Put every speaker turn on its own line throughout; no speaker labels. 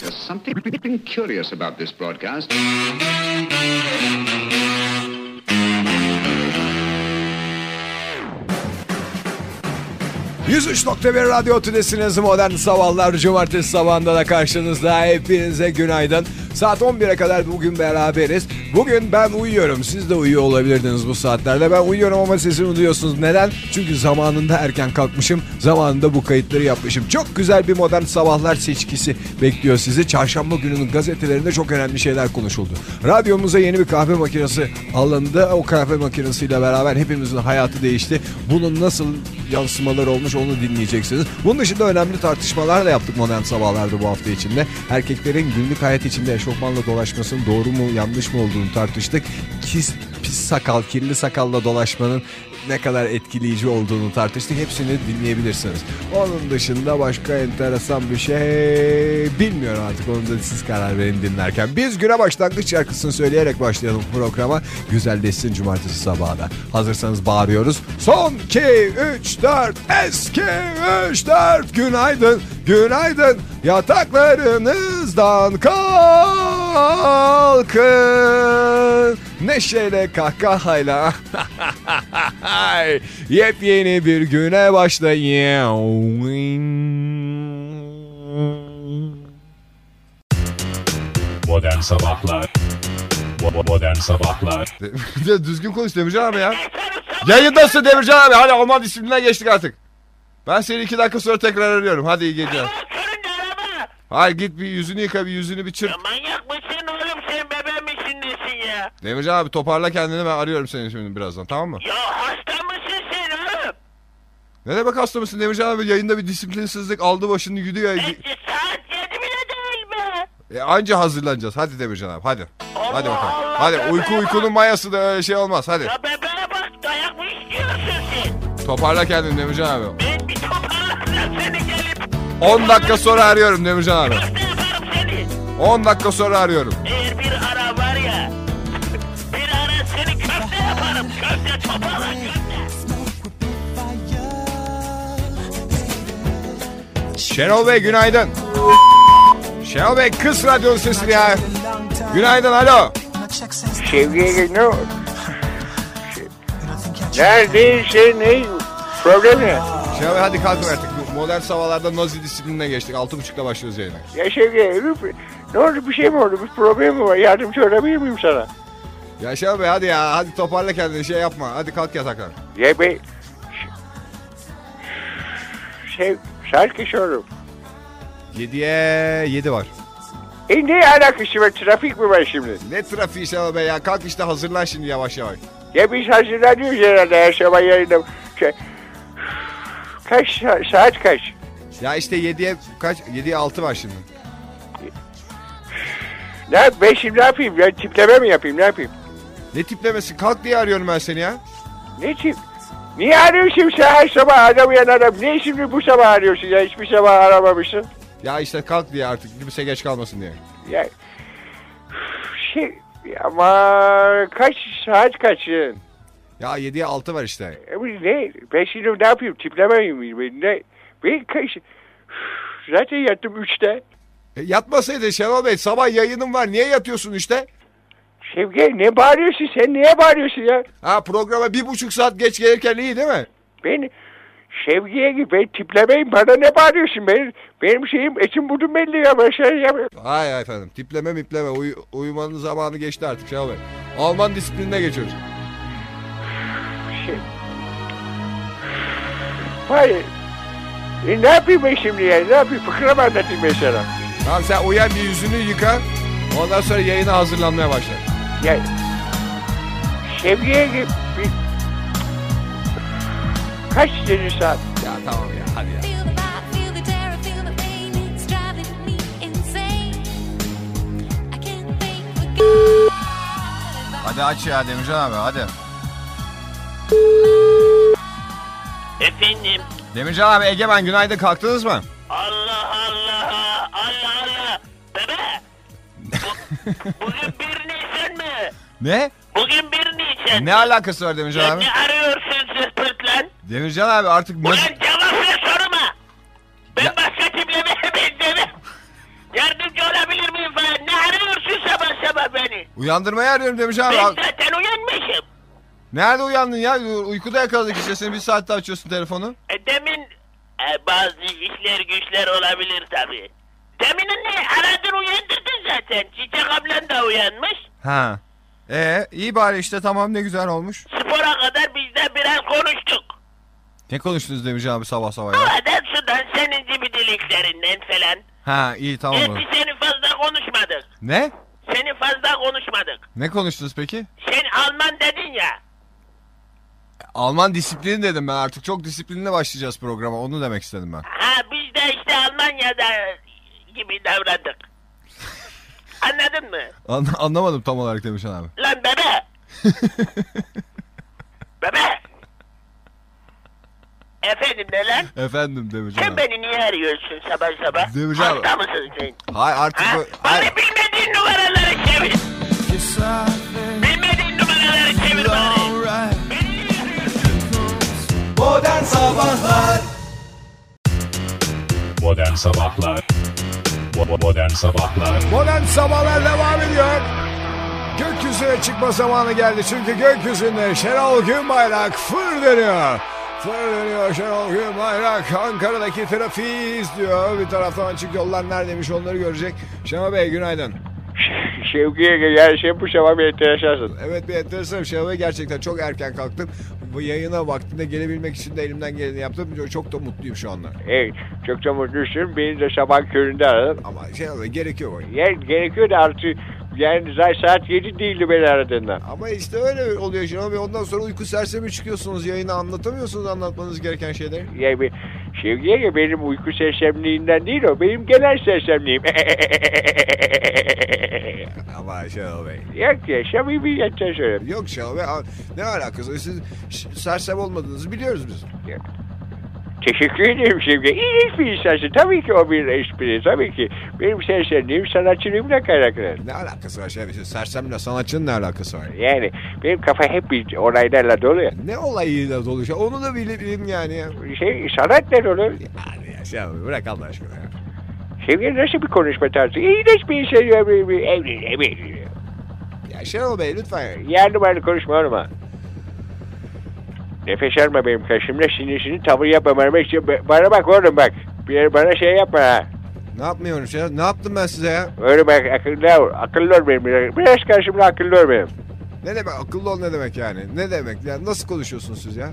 There's something curious about this broadcast.
...103.1 Radyo Tülesi'niz modern sabahlar... ...cumartesi sabahında da karşınızda... ...hepinize günaydın. Saat 11'e kadar bugün beraberiz. Bugün ben uyuyorum. Siz de uyuyor olabilirdiniz bu saatlerde. Ben uyuyorum ama sesimi duyuyorsunuz. Neden? Çünkü zamanında erken kalkmışım. Zamanında bu kayıtları yapmışım. Çok güzel bir modern sabahlar seçkisi bekliyor sizi. Çarşamba gününün gazetelerinde çok önemli şeyler konuşuldu. Radyomuza yeni bir kahve makinesi alındı. O kahve makinesiyle beraber hepimizin hayatı değişti. Bunun nasıl yansımalar olmuş onu dinleyeceksiniz. Bunun dışında önemli tartışmalar da yaptık modern sabahlarda bu hafta içinde. Erkeklerin günlük hayat içinde eşofmanla dolaşmasının doğru mu yanlış mı olduğunu tartıştık. Kis, pis sakal, kirli sakalla dolaşmanın ne kadar etkileyici olduğunu tartıştık. Hepsini dinleyebilirsiniz. Onun dışında başka enteresan bir şey bilmiyorum artık. Onu da siz karar verin dinlerken. Biz güne başlangıç şarkısını söyleyerek başlayalım programa. Güzelleşsin cumartesi sabahına. Hazırsanız bağırıyoruz. Son 2, 3, 4, eski 3, 4. Günaydın, günaydın. Yataklarınızdan kalkın. Neşeyle, kahkahayla. Ay, Yepyeni bir güne başlayın.
Modern Sabahlar Bo- Modern Sabahlar
Bir de düzgün konuş Demircan abi ya. Yayındasın Demircan abi. Hadi Alman isminden geçtik artık. Ben seni iki dakika sonra tekrar arıyorum. Hadi iyi geceler.
Senin de araba.
Hayır git bir yüzünü yıka bir yüzünü bir çırp.
Ya manyak mısın oğlum sen bebe misin nesin ya?
Demircan abi toparla kendini ben arıyorum seni şimdi birazdan tamam mı?
Ya hasta mısın sen oğlum?
Ne demek hasta mısın Demircan abi yayında bir disiplinsizlik aldı başını gidiyor. ya.
Neyse saat yedi bile değil be.
E, anca hazırlanacağız hadi Demircan abi hadi.
Allah
Hadi bakalım.
Allah,
Hadi
bebeğe
uyku
bak.
uykunun mayası da öyle şey olmaz hadi.
Ya bebeğe bak dayak mı istiyorsun sen?
Toparla kendini Demircan abi.
Ben bir toparlasam seni gelip
10 dakika sonra arıyorum Demircan abi.
hasta yaparım seni.
10 dakika sonra arıyorum.
Eğer bir ara var ya. Bir ara seni köfte yaparım. Köfte toparla köfte.
Şenol Bey günaydın. Şenol Bey kız radyonun sesini ya. Günaydın alo.
Sevgili ne o- Neredeyiz şey ne? Problem ne?
Şenol Bey hadi kalkın artık. Bu Modern sabahlarda nazi disiplinine geçtik. Altı buçukta başlıyoruz yayına.
Ya Sevgili Rıfı, ne oldu bir şey mi oldu? Bir problem mi var? Yardımcı olabilir miyim sana?
Ya Şenol Bey hadi ya. Hadi toparla kendini şey yapma. Hadi kalk yataktan.
Ya be... Sev... Sarkış oğlum.
Yediye yedi var.
E ne alakası var? Trafik mi var şimdi?
Ne trafiği Şenol Bey ya. Kalk işte hazırlan şimdi yavaş yavaş.
Ya biz hazırlanıyoruz herhalde her sabah yayında. Şey... Kaç sa- saat kaç?
Ya işte yediye kaç? Yediye altı var şimdi.
Ne yap- ben şimdi ne yapayım? Ya tipleme mi yapayım? Ne yapayım?
Ne tiplemesin? Kalk diye arıyorum ben seni ya.
Ne tip? Niye arıyorsun sen her sabah adam uyan adam? Niye şimdi bu sabah arıyorsun ya? Hiçbir sabah aramamışsın.
Ya işte kalk diye artık. Kimse geç kalmasın diye.
Ya şey ama kaç saat kaçın?
Ya yediye altı var işte.
E bu ne? Ben şimdi ne yapayım? Tiplemeyeyim miyim? Ben Ne? Ben kaç... Zaten yattım üçte.
E, yatmasaydın Şenol Bey sabah yayınım var niye yatıyorsun işte?
Sevgi ne bağırıyorsun sen? Niye bağırıyorsun ya?
Ha programa bir buçuk saat geç gelirken iyi değil mi?
Ben Sevgi'ye gibi ben tiplemeyim. Bana ne bağırıyorsun? Benim, benim şeyim etim budum belli ya. Ben şey yap-
Hayır efendim tipleme mipleme uyu- uyumanın zamanı geçti artık Şenol Bey. Alman disiplinine geçiyoruz.
şey. Hayır. E ne yapayım ben şimdi ya? Ne yapayım? Fıkra mı anlatayım ben sana?
Tamam sen uyan bir yüzünü yıka ondan sonra yayına hazırlanmaya başla.
Ya. Sevgiye gibi. bir- Kaç dedi saat?
Ya tamam ya hadi ya.
Feel the vibe, feel the terror, feel the pain. It's driving me insane. I can't think.
Hadi aç ya Demircan abi hadi.
Efendim
Demircan abi Egemen günaydın kalktınız mı?
Allah Allah Allah Allah. Bebe. Bu- bugün bir Nisan mı?
Ne?
Bugün bir Nisan.
Ne alakası var Demircan
Sen
abi?
ne arıyorsun zıpırt lan?
Demircan abi artık
Ulan cevap ver soruma. Ben
Ya-
başka kimlere benzemem. Yardımcı olan
Uyandırmayı arıyorum Demirci abi.
Ben
Al-
zaten uyanmışım.
Nerede uyandın ya? U- Uykuda yakaladık işte seni. Bir saatte açıyorsun telefonu.
E, demin e, bazı işler güçler olabilir tabii. Demin ne aradın uyandırdın zaten. Çiçek ablan da uyanmış.
Ha. Ee, iyi bari işte tamam ne güzel olmuş.
Spora kadar bizden biraz konuştuk.
Ne konuştunuz Demirci abi sabah sabah
Bu
ya?
adam sudan senin gibi diliklerinden falan.
Ha iyi tamam.
Gerçi seni fazla konuşmadık.
Ne?
Seni fazla konuşmadık.
Ne konuştunuz peki?
Sen Alman dedin ya.
Alman disiplini dedim ben artık çok disiplinle başlayacağız programa onu demek istedim ben.
Ha biz de işte Almanya'da gibi davrandık. Anladın mı?
An- anlamadım tam olarak Demircan abi.
Lan bebe. bebe. Efendim ne lan?
Efendim Demircan
Sen
abi.
beni niye arıyorsun sabah sabah?
Demirci abi.
Hasta mısın sen?
Hayır artık
Ha?
bu- hayır.
Bana bilmediğin numaraları çevir. Bilmediğin numaraları çevir bana. Beni niye arıyorsun?
Modern Sabahlar
Modern Sabahlar Bo- bo- Modern Sabahlar
Modern Sabahlar devam ediyor. Gökyüzüne çıkma zamanı geldi çünkü gökyüzünde Şenol Günbayrak fır dönüyor. Fır dönüyor Şenol Günbayrak Ankara'daki trafiği izliyor. Bir taraftan açık yollar neredeymiş onları görecek. Şenol Bey günaydın.
Şevki Ege yani şey bu şeva bir enteresansın.
Evet bir enteresan bir şey ama gerçekten çok erken kalktım. Bu yayına vaktinde gelebilmek için de elimden geleni yaptım. Çok- Çok da mutluyum şu anda.
Evet çok da mutlusun. Beni de sabah köründe aradın.
Ama
şey
Şenol Bey gerek yok.
Yani gerekiyordu artık. Yani zaten saat 7 değildi beni aradığında.
Ama işte öyle oluyor Şenol Bey. Ondan sonra uyku sersemi çıkıyorsunuz. Yayını anlatamıyorsunuz anlatmanız gereken şeyleri.
Yani bir- Şevki Ege benim uyku sersemliğinden değil o. Benim genel sersemliğim.
Ama Şenol Bey.
Yok ya samimiyetten söylüyorum.
Yok Şenol Bey. a- Ne alakası? var? Siz ş- sersem olmadığınızı biliyoruz biz.
Teşekkür ederim Şevki. İyi bir insansın. Tabii ki o bir espri. Tabii ki. Benim sersemliğim sanatçılığımla kaynaklanır.
Ne alakası var Şenol Bey? Siz şey, Sersemle sanatçının ne alakası var?
Yani benim kafa hep bir olaylarla dolu ya.
Ne olayıyla dolu şey? Onu da bilebilirim yani. ya.
Şey, sanat ne dolu?
Hadi ya Şenol Bey bırak Allah aşkına ya.
Sevgi nasıl bir konuşma tarzı? İğrenç bir şey ya. bir- bir- Evli, evli.
Ya Şenol Bey lütfen.
Yer numaralı konuşma oğlum ha. Nefes alma benim karşımda. Sinirsini tavır yapma. Bana bak- Bana bak oğlum bak. Bir yere bana şey yapma ha.
Ne yapmıyorum Şenol? Ne yaptım ben size ya?
Öyle bak akıllı ol. Akıllı ol benim. biraz- Biraz karşımda akıllı ol benim.
Ne demek akıllı ol ne demek yani? Ne demek? Ya nasıl konuşuyorsunuz siz ya?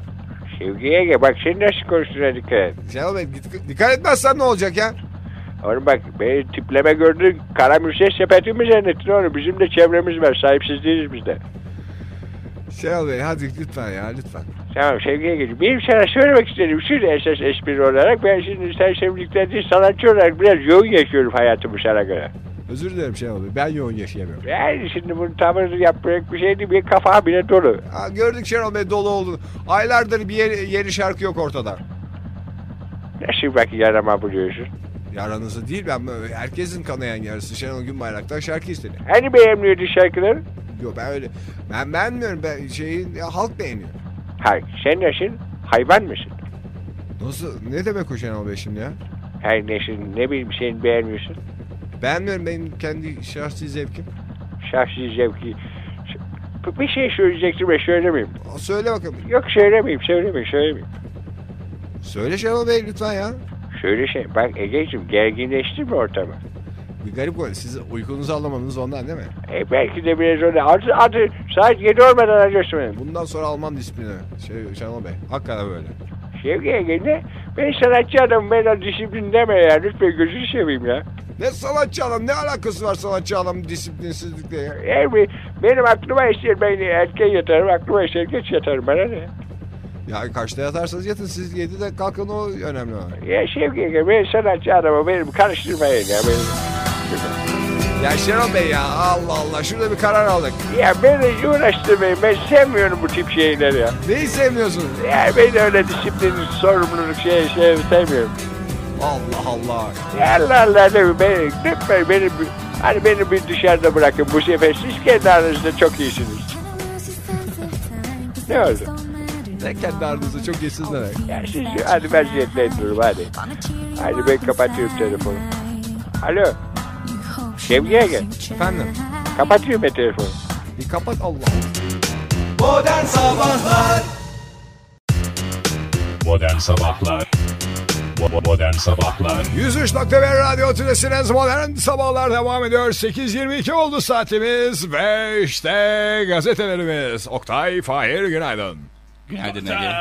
Sevgiye gel bak sen nasıl konuştuğuna dikkat et.
Şenol Bey dik- dikkat etmezsen ne olacak ya?
Oğlum bak beni tipleme gördün kara mürşe sepeti mi zannettin oğlum? Bizim de çevremiz var sahipsiz değiliz biz de.
Şenol Bey hadi lütfen ya lütfen.
Tamam Sevgi'ye gel. Benim sana söylemek istediğim şu da esas espri olarak ben şimdi sen sevgilikten değil sanatçı olarak biraz yoğun yaşıyorum hayatımı sana göre.
Özür dilerim Şenol Bey ben yoğun yaşayamıyorum.
Yani şimdi bunu tamamen yapacak bir şey değil. Bir kafa bile dolu.
Ha, gördük Şenol Bey dolu olduğunu. Aylardır bir yeni, yeni şarkı yok ortada.
Nasıl bak yarama buluyorsun?
Yaranızı değil ben böyle herkesin kanayan yarısı Şenol Günbayrak'tan şarkı istedi.
Hani beğenmiyordun şarkıları?
Yok ben öyle ben beğenmiyorum ben şeyi ya, halk beğeniyor.
Hayır sen nasıl? Hayvan mısın?
Nasıl ne demek o Şenol Bey şimdi ya?
Hayır nesin ne bileyim seni beğenmiyorsun.
Beğenmiyorum benim kendi şahsi zevkim.
Şahsi zevki. Bir şey söyleyecektim ve söylemeyeyim.
Aa, Söyle bakalım.
Yok söylemeyeyim, söylemeyeyim, söylemeyeyim.
Söyle Şenol Bey lütfen ya.
Şöyle şey, bak Ege'ciğim gerginleşti mi ortamı?
Bir garip gol. Siz uykunuzu alamadınız ondan değil mi?
E belki de biraz öyle. Artı, artı saat 7 olmadan arıyorsun beni.
Bundan sonra almam disiplini. Şey, Şenol Bey. Hakikaten böyle.
Şevki Ege ne? Ben sanatçı adamım, ben o disiplin deme ya. Lütfen gözünü seveyim ya.
Ne sanatçı adam ne alakası var sanatçı adam disiplinsizlikle ya?
Yani benim aklıma eser, ben erken yatarım, aklıma eser geç yatarım bana ne?
Ya kaçta yatarsanız yatın siz 7'de kalkın o önemli olan.
Ya Şevki Ege, ben sanatçı adamım, benim karıştırmayın ya. Benim.
Ya Şenol Bey ya Allah Allah şurada bir karar aldık.
Ya beni uğraştırmayın, ben sevmiyorum bu tip şeyleri ya.
Neyi sevmiyorsunuz?
Ya ben öyle disiplin, sorumluluk şey, şey sevmiyorum.
Allah Allah.
Allah Allah dedim beni, lütfen beni, bir- hani beni bir dışarıda bırakın bu sefer siz kendi aranızda çok iyisiniz. Ne oldu?
Ne kendi aranızda çok iyisiniz ne demek?
Ya siz hadi ben ziyetlendirim hadi. Hadi ben kapatıyorum telefonu. Alo
Şevki'ye gel.
Efendim?
kapatıyorum ben telefonu.
Bir kapat Allah. Modern Sabahlar
Modern Sabahlar Bo- Modern Sabahlar
103.1 Radyo Tülesi'niz modern sabahlar devam ediyor. 8.22 oldu saatimiz ve işte gazetelerimiz. Oktay, Fahir günaydın.
Günaydın Ege.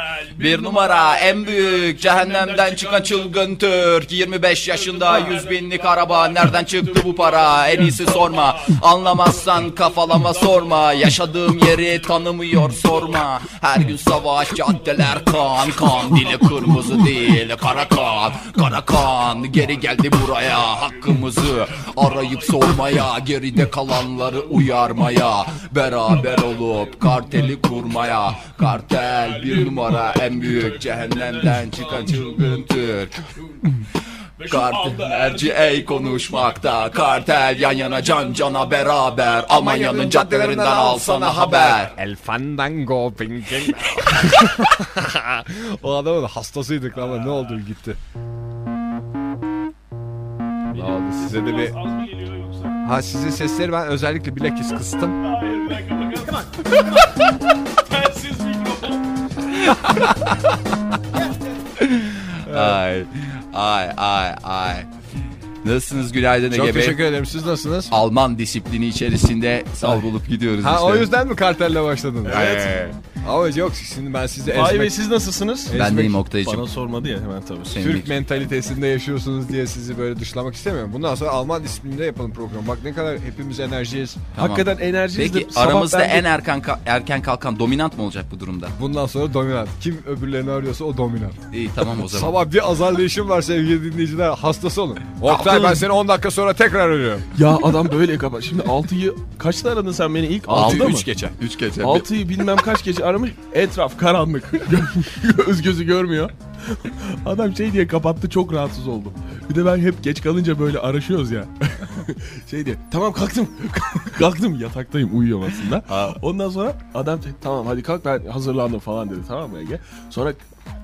Bir numara en büyük cehennemden çıkan çılgın Türk 25 yaşında 100 binlik araba Nereden çıktı bu para en iyisi sorma Anlamazsan kafalama sorma Yaşadığım yeri tanımıyor sorma Her gün savaş caddeler kan kan Dili kırmızı değil kara kan Kara kan geri geldi buraya Hakkımızı arayıp sormaya Geride kalanları uyarmaya Beraber olup karteli kurmaya Kartel bir numara en büyük Cehennemden çıkan çılgın Türk Kartellerci ey konuşmakta Kartel yan yana can cana beraber Almanya'nın caddelerinden alsana haber
El Fandango ping, ping. O adamın hastasıydık ama ne oldu gitti.
Ne oldu size de bir...
Ha sizin sesleri ben özellikle bilakis kıstım.
Ay ay ay ay Nasılsınız günaydın
Çok
Ege Bey
teşekkür ederim. Siz nasılsınız?
Alman disiplini içerisinde savrulup gidiyoruz
Ha
işte.
o yüzden mi kartelle başladınız?
Evet.
Ama yok şimdi ben sizi
Ay Bey
ezmek,
siz nasılsınız?
Ben deyim
Bana
Oktay'cım.
sormadı ya hemen tabii.
Türk mentalitesinde yaşıyorsunuz diye sizi böyle dışlamak istemiyorum. Bundan sonra Alman disiplinde yapalım programı. Bak ne kadar hepimiz enerjiyiz.
Hakikaten enerjiniz
Peki
de sabah
aramızda
ben de-
en erken ka- erken kalkan dominant mı olacak bu durumda?
Bundan sonra dominant. Kim öbürlerini arıyorsa o dominant.
İyi tamam o zaman.
Sabah bir azarlayışım var sevgili dinleyiciler. Hastası olun. Oktay ben seni 10 dakika sonra tekrar arıyorum.
Ya adam böyle kapat. Şimdi 6'yı kaçta aradın sen beni ilk? 6'da mı?
3 geçe. 3 geçe.
6'yı bilmem kaç gece aramış. Etraf karanlık. Göz gözü görmüyor. Adam şey diye kapattı çok rahatsız oldum. Bir de ben hep geç kalınca böyle araşıyoruz ya. şey diye tamam kalktım. kalktım yataktayım uyuyorum aslında. Ondan sonra adam te- tamam hadi kalk ben hazırlandım falan dedi tamam mı Ege? Sonra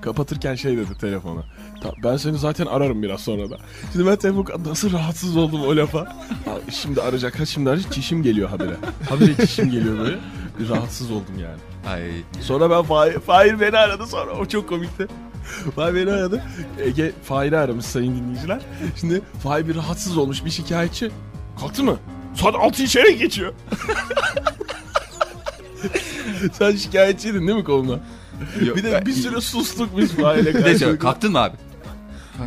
kapatırken şey dedi telefona. "Ta- Ben seni zaten ararım biraz sonra da. Şimdi ben telefon nasıl rahatsız oldum o lafa. Ha, Şimdi arayacak ha şimdi arayacak çişim geliyor habire. Habire çişim geliyor böyle. Bir Rahatsız oldum yani.
Ay.
Sonra ben Fahir, Fahir beni aradı sonra. O çok komikti. Fahir beni aradı. Ege Fahir'i aramış sayın dinleyiciler. Şimdi Fahir bir rahatsız olmuş bir şikayetçi. Kalktı mı? Saat 6 içeri geçiyor. Sen şikayetçiydin değil mi kolumda?
Yok, e,
Bir de
ben-
bir süre sustuk biz Fahir'le
Bir de şöyle,
karşı.
kalktın mı abi?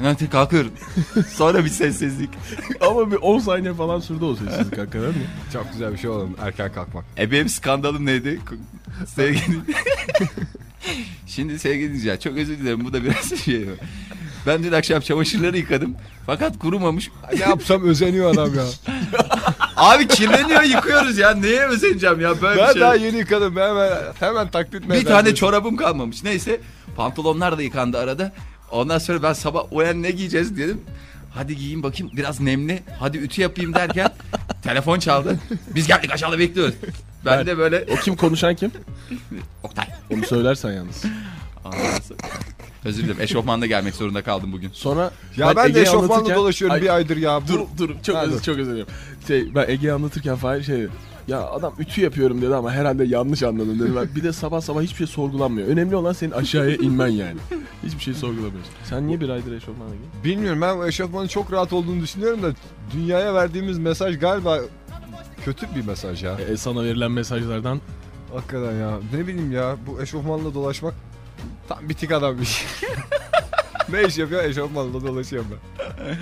Kalktım, kalkıyorum. Sonra bir sessizlik.
Ama bir 10 saniye falan sürdü o sessizlik hakikaten mi?
Çok güzel bir şey olalım erken kalkmak.
E benim skandalım neydi? Sevgili... Şimdi sevgili dinleyiciler çok özür dilerim bu da biraz şey. Ben dün akşam çamaşırları yıkadım. Fakat kurumamış.
Ne yapsam özeniyor adam ya.
Abi kirleniyor yıkıyoruz ya. Neye özeneceğim ya böyle bir
ben
şey.
daha yeni yıkadım. Ben hemen, hemen taklit
Bir
meydan
tane
diyorum.
çorabım kalmamış. Neyse pantolonlar da yıkandı arada. Ondan sonra ben sabah uyan ne giyeceğiz dedim. Hadi giyeyim bakayım biraz nemli. Hadi ütü yapayım derken telefon çaldı. Biz geldik aşağıda bekliyoruz. Ben, de böyle
O kim konuşan kim?
Oktay.
Onu söylersen yalnız.
Ondan sonra- Özür dilerim eşofmanla gelmek zorunda kaldım bugün.
Sonra
Ya ben de
Ege'yi
eşofmanla
anlatırken-
dolaşıyorum
Ay,
bir aydır ya. Bu-
Dur dur çok
Ha,
özür
dur.
çok özür dilerim. Şey ben Ege'yi anlatırken Fahir şey dedi, ya adam ütü yapıyorum dedi ama herhalde yanlış anladım dedi. Ben, bir de sabah sabah hiçbir şey sorgulanmıyor. Önemli olan senin aşağıya inmen yani. Hiçbir şey sorgulamıyorsun. Sen niye bir aydır eşofmanla giyiyorsun?
Bilmiyorum ben bu eşofmanın çok rahat olduğunu düşünüyorum da dünyaya verdiğimiz mesaj galiba kötü bir mesaj ya.
E, sana verilen mesajlardan
Hakikaten ya. Ne bileyim ya bu eşofmanla dolaşmak tam bitik adam bir şey. ne iş yapıyor eşofmanla dolaşıyorum ben.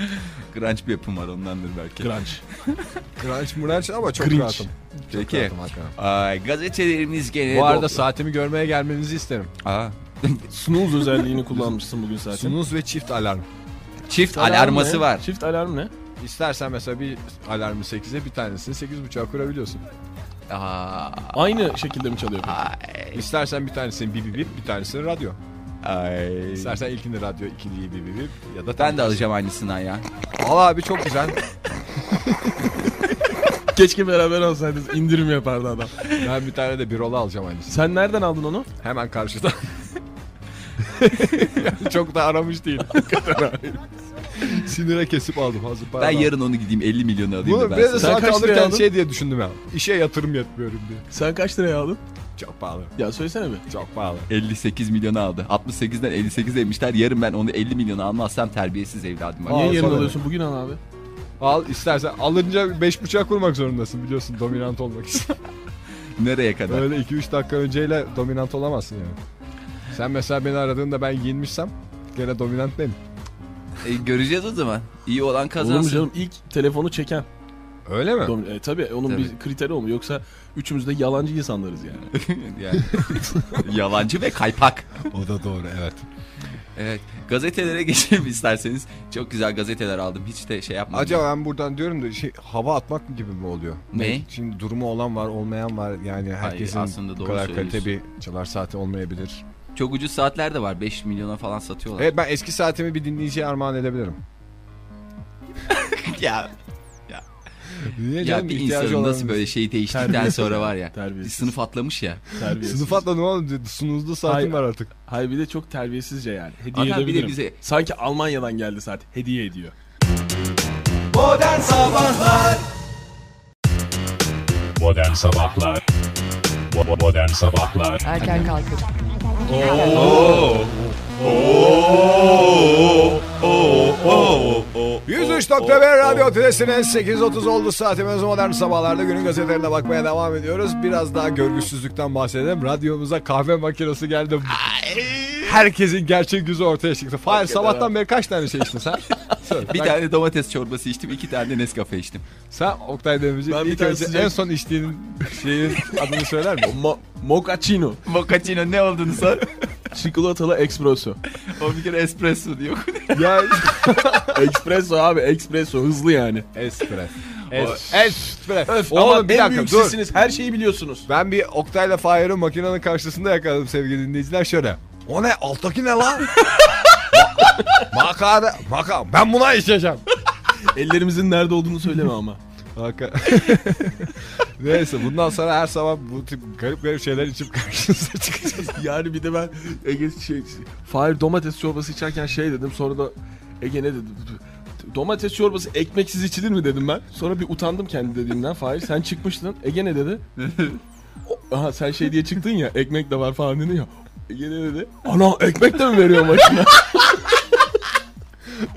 Grunge bir yapım var ondandır belki.
grunge.
Crunch mrunch ama çok
Cringe.
rahatım. Çok
Peki.
rahatım hakikaten.
Ay, gazetelerimiz gene...
Bu arada
dolu.
saatimi görmeye gelmenizi isterim.
Aa,
Snooze özelliğini kullanmışsın bugün zaten.
Sunuz ve çift alarm.
Çift
Alarm
alarması
ne?
var.
Çift alarm ne?
İstersen mesela bir alarmı 8'e bir tanesini 8.30'a kurabiliyorsun.
Aa,
Aynı şekilde mi çalıyor?
İstersen bir tanesini bip bip bip bir tanesini radyo.
ay.
İstersen ilkini radyo ikiliyi bip bip bip ya da
Ben de alacağım aynısından ya.
Al abi çok güzel.
Keşke beraber olsaydınız indirim yapardı adam.
ben bir tane de bir rola alacağım aynısını.
Sen nereden aldın onu?
Hemen karşıda. Yani çok da aramış değil. Sinire kesip aldım hazır para.
Ben yarın onu gideyim 50 milyonu alayım
Bunu
da
ben
ben
de
sana.
Sen
saat
kaç liraya
alırken
aldın?
şey diye düşündüm ya. İşe yatırım yapmıyorum diye.
Sen kaç liraya aldın?
Çok pahalı.
Ya söylesene bir.
Çok pahalı.
58 milyonu aldı. 68'den 58 demişler. Yarın ben onu 50 milyonu almazsam terbiyesiz evladım.
Aa,
Bak.
Niye yarın
sana.
alıyorsun? Bugün al abi.
Al istersen alınca beş buçuğa kurmak zorundasın biliyorsun dominant olmak için.
Nereye kadar?
Öyle 2-3 dakika önceyle dominant olamazsın yani. Sen mesela beni aradığında ben giyinmişsem gene dominant benim.
E, göreceğiz o zaman. İyi olan
Olur mu
kazansın.
canım? İlk telefonu çeken.
Öyle mi?
Domin- e, tabii onun
Tabii.
bir kriteri olmuyor. Yoksa üçümüz de yalancı insanlarız yani.
Yani. Yalancı ve kaypak.
o da doğru evet.
Evet. Gazetelere geçelim isterseniz. Çok güzel gazeteler aldım. Hiç de şey yapmadım.
Acaba ben buradan diyorum da şey hava atmak gibi mi oluyor? Hani
Ne?
Şimdi durumu olan var olmayan var yani herkesin
aslında
bu
doğru
kadar kalite bir
söylüyorsun.
çalar saati olmayabilir.
Çok ucuz saatler de var. 5 milyona falan satıyorlar.
Evet ben eski saatimi bir dinleyiciye armağan edebilirim.
ya
Niye
ya
canım?
bir
İhtiyacı
insanın
olan
nasıl böyle şeyi değiştikten
Terbiyesiz.
sonra var ya. Bir
Terbiyesiz.
sınıf atlamış ya.
Terbiyesiz.
Sınıf atla ne oldu? Sunuzlu saatim
Hayır.
var artık.
Hayır bir de çok terbiyesizce yani. Hediye
Hakan bir de
edebilirim.
bize-
Sanki Almanya'dan geldi saat. Hediye ediyor.
Modern Sabahlar Bo- bo- Modern Sabahlar
Erken kalkıp
Top Haber Radyo Tülesi'niz 8.30 oldu saatimiz modern sabahlarda günün gazetelerine bakmaya devam ediyoruz. Biraz daha görgüsüzlükten bahsedelim. Radyomuza kahve makinesi geldi.
Herkesin gerçek yüzü ortaya çıktı. Fahir sabahtan
abi.
beri kaç tane şey içtin sen? Söyle.
Bir
Ben-
tane domates çorbası içtim, iki tane de Nescafe içtim.
Sen Oktay Demirci
Ben bir
ilk
tane
önce
sıcak-
en son içtiğin şeyin adını söyler mi?
Mo- Mochaccino.
Mochaccino ne olduğunu sor.
Çikolatalı espresso.
o bir kere espresso diyor.
ya
espresso abi espresso. Hızlı yani.
Espres.
Es-
Espres.
Öf
Oğlum,
ama
bir
en
dakika,
büyük
dur.
sizsiniz. Her şeyi biliyorsunuz.
Ben bir Oktay'la Fahir'in makinenin karşısında yakaladım sevgili dinleyiciler şöyle. O ne? Alttaki ne lan? Makara, maka. Ben buna içeceğim.
Ellerimizin nerede olduğunu söyleme ama.
Maka. Neyse bundan sonra her sabah bu tip garip garip şeyler içip karşınıza çıkacağız.
yani bir de ben Ege şey, Fahir domates çorbası içerken şey dedim sonra da Ege ne dedi? Domates çorbası ekmeksiz içilir mi dedim ben. Sonra bir utandım kendi dediğimden Fahir sen çıkmıştın. Ege ne dedi? O- Aha sen şey diye çıktın ya ekmek de var falan dedin ya. Ege ne dedi? Ana ekmek de mi veriyor makine?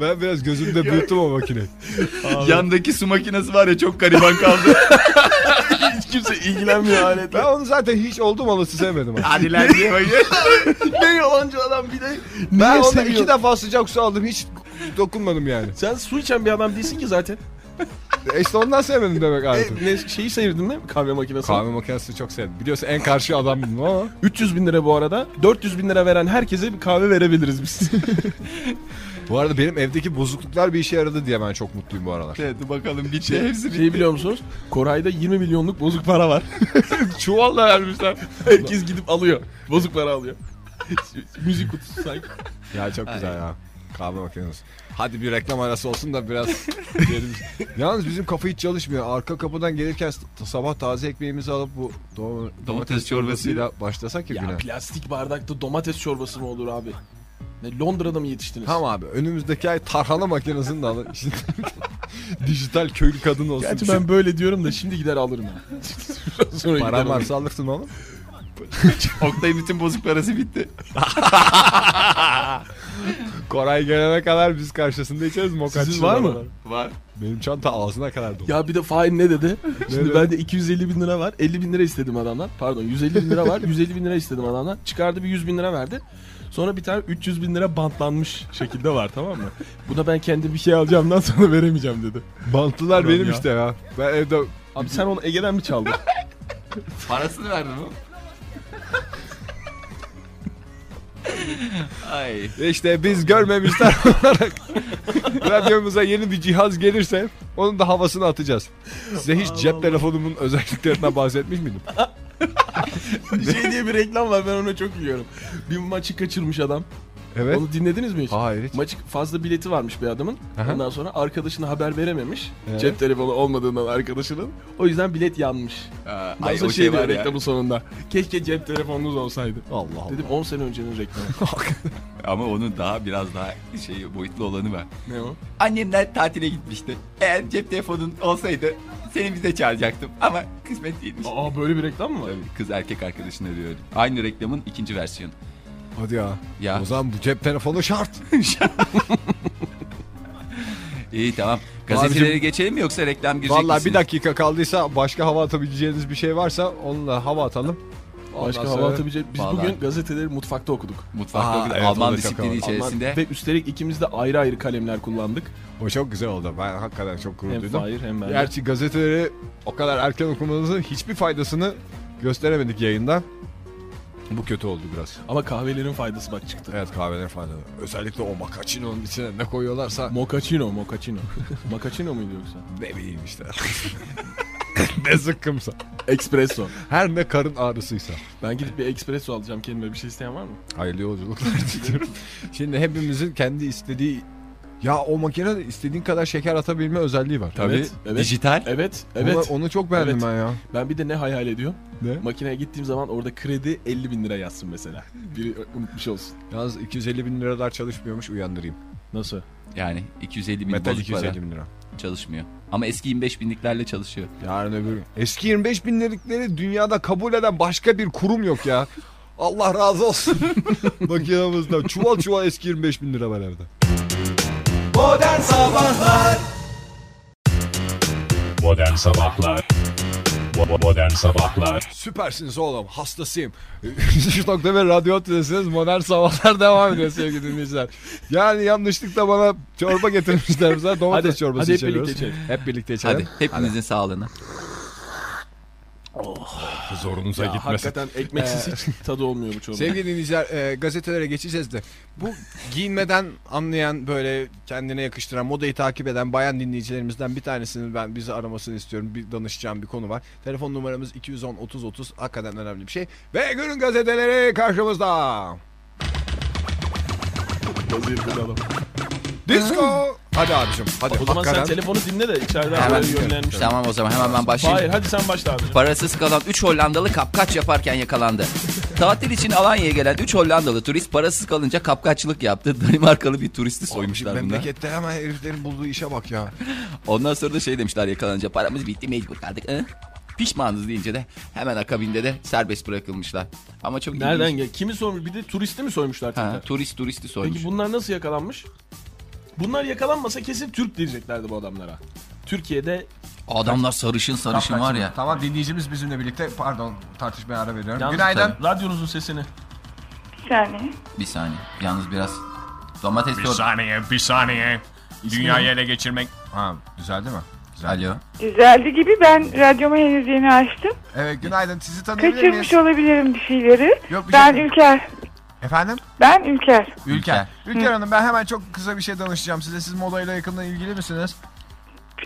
Ben biraz gözümde büyüttüm o makineyi.
Yandaki su makinesi var ya çok gariban kaldı.
Hiç kimse ilgilenmiyor aletle.
Ben onu zaten hiç oldum olası sevmedim. abi.
Hadi lan diye bakıyor.
ne yalancı adam bir de.
ben
Niye
onda
seviyor?
iki defa sıcak su aldım hiç dokunmadım yani.
Sen su içen bir adam değilsin ki zaten.
E İşte ondan sevmedim demek
E,
artık.
ne, şeyi sevdin mi kahve makinesi?
Kahve makinesini çok sevdim. Biliyorsun en karşı adamdım ama.
300 bin lira bu arada. 400 bin lira veren herkese bir kahve verebiliriz biz.
Bu arada benim evdeki bozukluklar bir işe yaradı diye ben çok mutluyum bu aralar.
Hadi bakalım bir şey hepsi bitti.
Şeyi biliyor musunuz? Koray'da 20 milyonluk bozuk para var.
Çuvalla vermişler.
Herkes gidip alıyor. Bozuk para alıyor. Müzik kutusu sanki.
Ya çok güzel ya. Kahve makinesi. Hadi bir reklam arası olsun da biraz diyelim. Yalnız bizim kafa hiç çalışmıyor. Arka kapıdan gelirken s- sabah taze ekmeğimizi alıp bu do- domates çorbasıyla başlasak ya güne.
Ya plastik bardakta domates çorbası mı olur abi? Ne Londra'da mı yetiştiniz?
Tamam abi önümüzdeki ay tarhana makinesini de alın. Şimdi Dijital köylü kadın olsun.
Gerçi ben böyle diyorum da şimdi gider alırım. Biraz Sonra
Paran
gider alırım.
varsa alırsın oğlum.
Oktay'ın bütün bozuk parası bitti.
Koray gelene kadar biz karşısında içeriz mokaçino.
Sizin var mı?
Var.
Benim çanta ağzına kadar dolu.
Ya bir de Fahir ne dedi?
dedi?
Şimdi bende 250 bin lira var. 50 bin lira istedim adamdan. Pardon 150 bin lira var. 150 bin lira istedim adamdan. Çıkardı bir 100 bin lira verdi. Sonra bir tane 300 bin lira bantlanmış şekilde var tamam mı? Buna ben kendi bir şey alacağımdan sonra veremeyeceğim dedi.
Bantlılar benim
ya.
işte ya. Ben evde
Abi sen onu Ege'den mi çaldın?
Parasını verdi mi? Ay.
İşte biz görmemişler olarak radyomuza yeni bir cihaz gelirse onun da havasını atacağız. Size hiç cep telefonumun özelliklerinden bahsetmiş miydim?
şey diye bir reklam var ben onu çok biliyorum. Bir maçı kaçırmış adam.
Evet.
Onu dinlediniz mi hiç?
Hayır hiç.
Maç fazla bileti varmış bir adamın.
Aha.
Ondan sonra arkadaşına haber verememiş. Cep telefonu olmadığından arkadaşının. O yüzden bilet yanmış. Ondan
Ay
sonra
o
şey
şey
diyor
var ya.
reklamın sonunda. Keşke cep telefonunuz olsaydı.
Allah Allah.
Dedim 10 sene öncenin reklamı.
Ama onun daha biraz daha şey boyutlu olanı var.
ne o?
Annemler tatile gitmişti. Eğer cep telefonun olsaydı seni bize çağıracaktım ama kısmet değilmiş.
Aa böyle bir reklam mı var?
Tabii kız erkek arkadaşını arıyor. öyle. Aynı reklamın ikinci versiyonu.
Hadi ya.
Ya.
O zaman bu cep telefonu şart.
İyi tamam. Gazeteleri geçelim mi yoksa reklam girecek
Vallahi bir
misiniz?
dakika kaldıysa başka hava atabileceğiniz bir şey varsa onunla hava atalım. Ondan
Başka
sonra-
hava atabilecek. Biz
Vallahi-
bugün gazeteleri mutfakta okuduk.
Mutfakta
Aa,
bir-
evet, o
Alman
da çok
disiplini
havalı.
içerisinde.
Alman- Ve üstelik ikimiz de ayrı ayrı kalemler kullandık.
O çok güzel oldu. Ben hakikaten çok gurur
Hem
duydum.
Fahir hem ben.
Gerçi gazeteleri o kadar erken okumanızın hiçbir faydasını gösteremedik yayında. Bu kötü oldu biraz.
Ama kahvelerin faydası bak çıktı.
Evet kahveler faydalı. Özellikle o macchiato'nun içine ne koyuyorlarsa
Mochaccino, mochaccino. mochaccino muydu yoksa?
ne bileyim işte. ne zıkkımsa.
Espresso.
Her ne karın ağrısıysa.
Ben gidip bir espresso alacağım kendime. Bir şey isteyen var mı?
Hayırlı yolculuklar diliyorum. Şimdi hepimizin kendi istediği ya o makinede istediğin kadar şeker atabilme özelliği var.
Tabii. Evet, evet.
Dijital.
Evet,
Evet.
evet.
Onu, onu çok beğendim
Evet.
ben ya.
Ben bir de ne hayal ediyorum?
Ne?
Makineye gittiğim zaman orada kredi 50 bin lira yazsın mesela. Biri unutmuş olsun.
Yalnız 250 bin liralar çalışmıyormuş uyandırayım.
Nasıl?
Yani 250 bin
Metal
bozuk para
250 bin lira.
çalışmıyor. Ama eski 25 binliklerle çalışıyor.
Yarın öbür gün. Eski 25 bin lirikleri dünyada kabul eden başka bir kurum yok ya. Allah razı olsun. Makinamızda çuval çuval eski 25 bin lira var evde.
Modern Sabahlar Bo- Modern Sabahlar
Süpersiniz oğlum hastasıyım. Nokta ve radyo tülesiniz modern sabahlar devam ediyor sevgili dinleyiciler. Yani yanlışlıkla bana çorba getirmişler bize domates
Hadi,
çorbası
hadi hep
içeriyoruz.
birlikte
Hep birlikte içelim.
Hadi hepinizin sağlığına.
Zorunuza
Ya hakikaten ekmeksiz hiç tadı olmuyor bu çorba.
Ee, Sevgili dinleyiciler e, gazetelere geçeceğiz de bu giyinmeden anlayan böyle kendine yakıştıran modayı takip eden bayan dinleyicilerimizden bir tanesinin ben bizi aramasını istiyorum. Bir danışacağım bir konu var. Telefon numaramız 210 30 30 hakikaten önemli bir şey. Ve günün gazeteleri karşımızda.
Hazır kullanalım.
Disco. Hadi abicim hadi.
O zaman sen
Hakikaten.
telefonu dinle de içeriden
Hemen.
böyle yönlenmiş.
Tamam o zaman hemen ben başlayayım.
Hayır hadi sen başla abi.
Parasız kalan 3 Hollandalı kapkaç yaparken yakalandı. Tatil için Alanya'ya gelen 3 Hollandalı turist parasız kalınca kapkaççılık yaptı. Danimarkalı bir turisti soymuşlar bunlar.
Memlekette hemen heriflerin bulduğu işe bak ya.
Ondan sonra da şey demişler yakalanınca paramız bitti mecbur kaldık. Hı? Pişmanız deyince de hemen akabinde de serbest bırakılmışlar. Ama çok
Nereden
ilginç.
gel? Kimi sormuş? Bir de turisti mi soymuşlar
Ha,
tekrar?
turist turisti soymuş.
Peki bunlar nasıl yakalanmış? Bunlar yakalanmasa kesin Türk diyeceklerdi bu adamlara. Türkiye'de
Adamlar sarışın sarışın var ya.
Tamam dinleyicimiz bizimle birlikte pardon tartışmaya ara veriyorum.
Yalnız
Günaydın.
tabii.
radyonuzun sesini
Bir saniye. Yalnız biraz domates sor.
saniye bir saniye Dünyayı ele geçirmek
Ha, düzeldi mi?
Alo.
Düzeldi gibi ben radyomu henüz yeni açtım.
Evet günaydın sizi tanıyabilir miyiz?
Kaçırmış olabilirim bir şeyleri.
Yok, bir
ben
şey yok.
Ülker.
Efendim?
Ben Ülker.
Ülker. Ülker Hanım ben hemen çok kısa bir şey danışacağım size. Siz modayla yakından ilgili misiniz?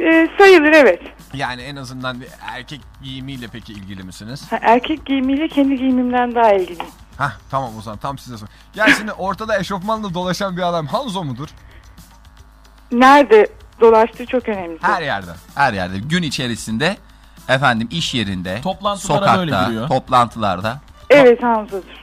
Ee, sayılır evet.
Yani en azından bir erkek giyimiyle peki ilgili misiniz?
Ha, er- erkek giyimiyle kendi giyimimden daha ilgiliyim.
Hah tamam o zaman tam size sor. Ya şimdi ortada eşofmanla dolaşan bir adam Hanzo mudur?
Nerede dolaştığı çok önemli.
Her yerde.
Her yerde gün içerisinde efendim iş yerinde,
Toplantılara böyle
sokakta,
giriyor.
toplantılarda.
Evet Hanzo'dur.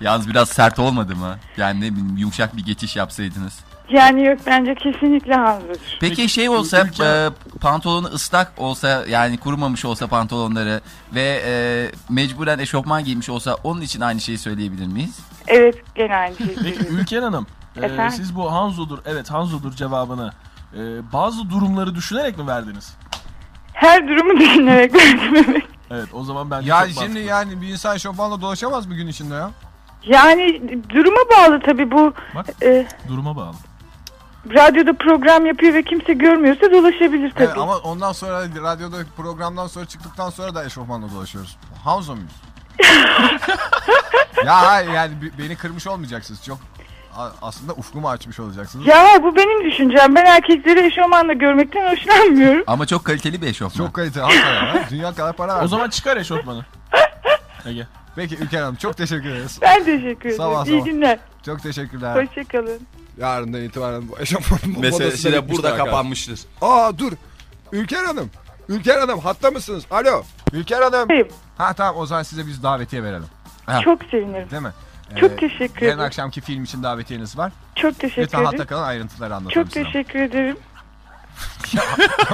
Yalnız biraz sert olmadı mı? Yani ne bileyim yumuşak bir geçiş yapsaydınız.
Yani yok bence kesinlikle Hanzo'dur.
Peki şey olsa e, pantolonu ıslak olsa yani kurumamış olsa pantolonları ve e, mecburen eşofman giymiş olsa onun için aynı şeyi söyleyebilir miyiz?
Evet gene aynı şey.
Peki
söylüyorum.
Ülker Hanım, e,
Efendim?
siz bu Hanzo'dur, evet Hanzo'dur cevabını e, bazı durumları düşünerek mi verdiniz?
Her durumu düşünerek verdim evet.
Evet, o zaman ben
Ya
çok
şimdi
mantıklı.
yani bir insan eşofmanla dolaşamaz mı gün içinde ya?
Yani duruma bağlı tabii bu.
Bak.
e,
duruma bağlı.
radyoda program yapıyor ve kimse görmüyorsa dolaşabilir tabii.
Evet, E, ama ondan sonra radyoda programdan sonra çıktıktan sonra da eşofmanla dolaşıyoruz. Hanzo muyuz? ya hayır yani bi- beni kırmış olmayacaksınız. Çok a- aslında ufkumu açmış olacaksınız.
Ya bu benim düşüncem. Ben erkekleri eşofmanla görmekten hoşlanmıyorum.
Ama çok kaliteli bir eşofman.
Çok kaliteli. hakikaten ya. Dünya kadar para
O
verdim.
zaman çıkar eşofmanı. Ege.
Peki Ülker Hanım çok teşekkür ederiz.
Ben teşekkür ederim.
Sabah
İyi
sabah.
günler.
Çok teşekkürler.
Hoşçakalın.
Yarından itibaren bu eşofman
Meselesi
modasına
de
gitmişti
burada
arkadaşlar.
kapanmıştır.
Aa dur. Ülker Hanım. Ülker Hanım hatta mısınız? Alo. Ülker Hanım. Ha tamam o zaman size biz davetiye verelim. Ha,
Çok sevinirim.
Değil mi?
Çok
Ee,
teşekkür
Yarın
ederim.
akşamki film için davetiyeniz var.
Çok teşekkür
Lütfen
ederim.
hatta kalın ayrıntıları anlatın.
Çok teşekkür ederim.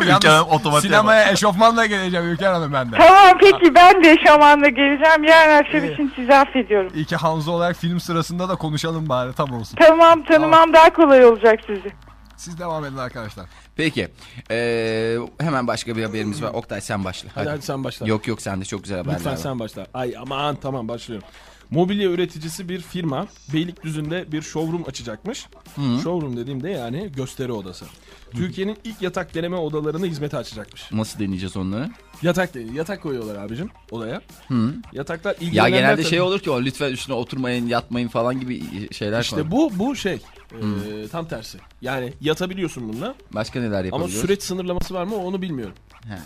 Yalnız sinemaya eşofmanla geleceğim Ülker Hanım ben de.
Tamam peki ben de şamanla geleceğim. Yarın akşam için sizi affediyorum.
İyi ki Hanzo olarak film sırasında da konuşalım bari tam olsun.
Tamam tanımam daha kolay olacak sizi.
Siz devam edin arkadaşlar.
Peki. Ee, hemen başka bir haberimiz var. Oktay sen başla.
Hadi, hadi sen başla.
Yok yok sende çok güzel haberler
Lütfen
var.
sen başla. Ay aman tamam başlıyorum. Mobilya üreticisi bir firma Beylikdüzü'nde bir showroom açacakmış.
Hı.
Showroom dediğimde yani gösteri odası. Türkiye'nin ilk yatak deneme odalarını hizmete açacakmış.
Nasıl deneyeceğiz onları?
Yatak değil, yatak koyuyorlar abicim odaya.
Hı.
Yataklar
Ya
ilgilenenler
genelde
tabii-
şey olur ki o lütfen üstüne oturmayın, yatmayın falan gibi şeyler
İşte
koyar.
bu bu şey e, tam tersi. Yani yatabiliyorsun bununla
Başka neler
ama
yapabiliyoruz?
süreç sınırlaması var mı onu bilmiyorum.
He.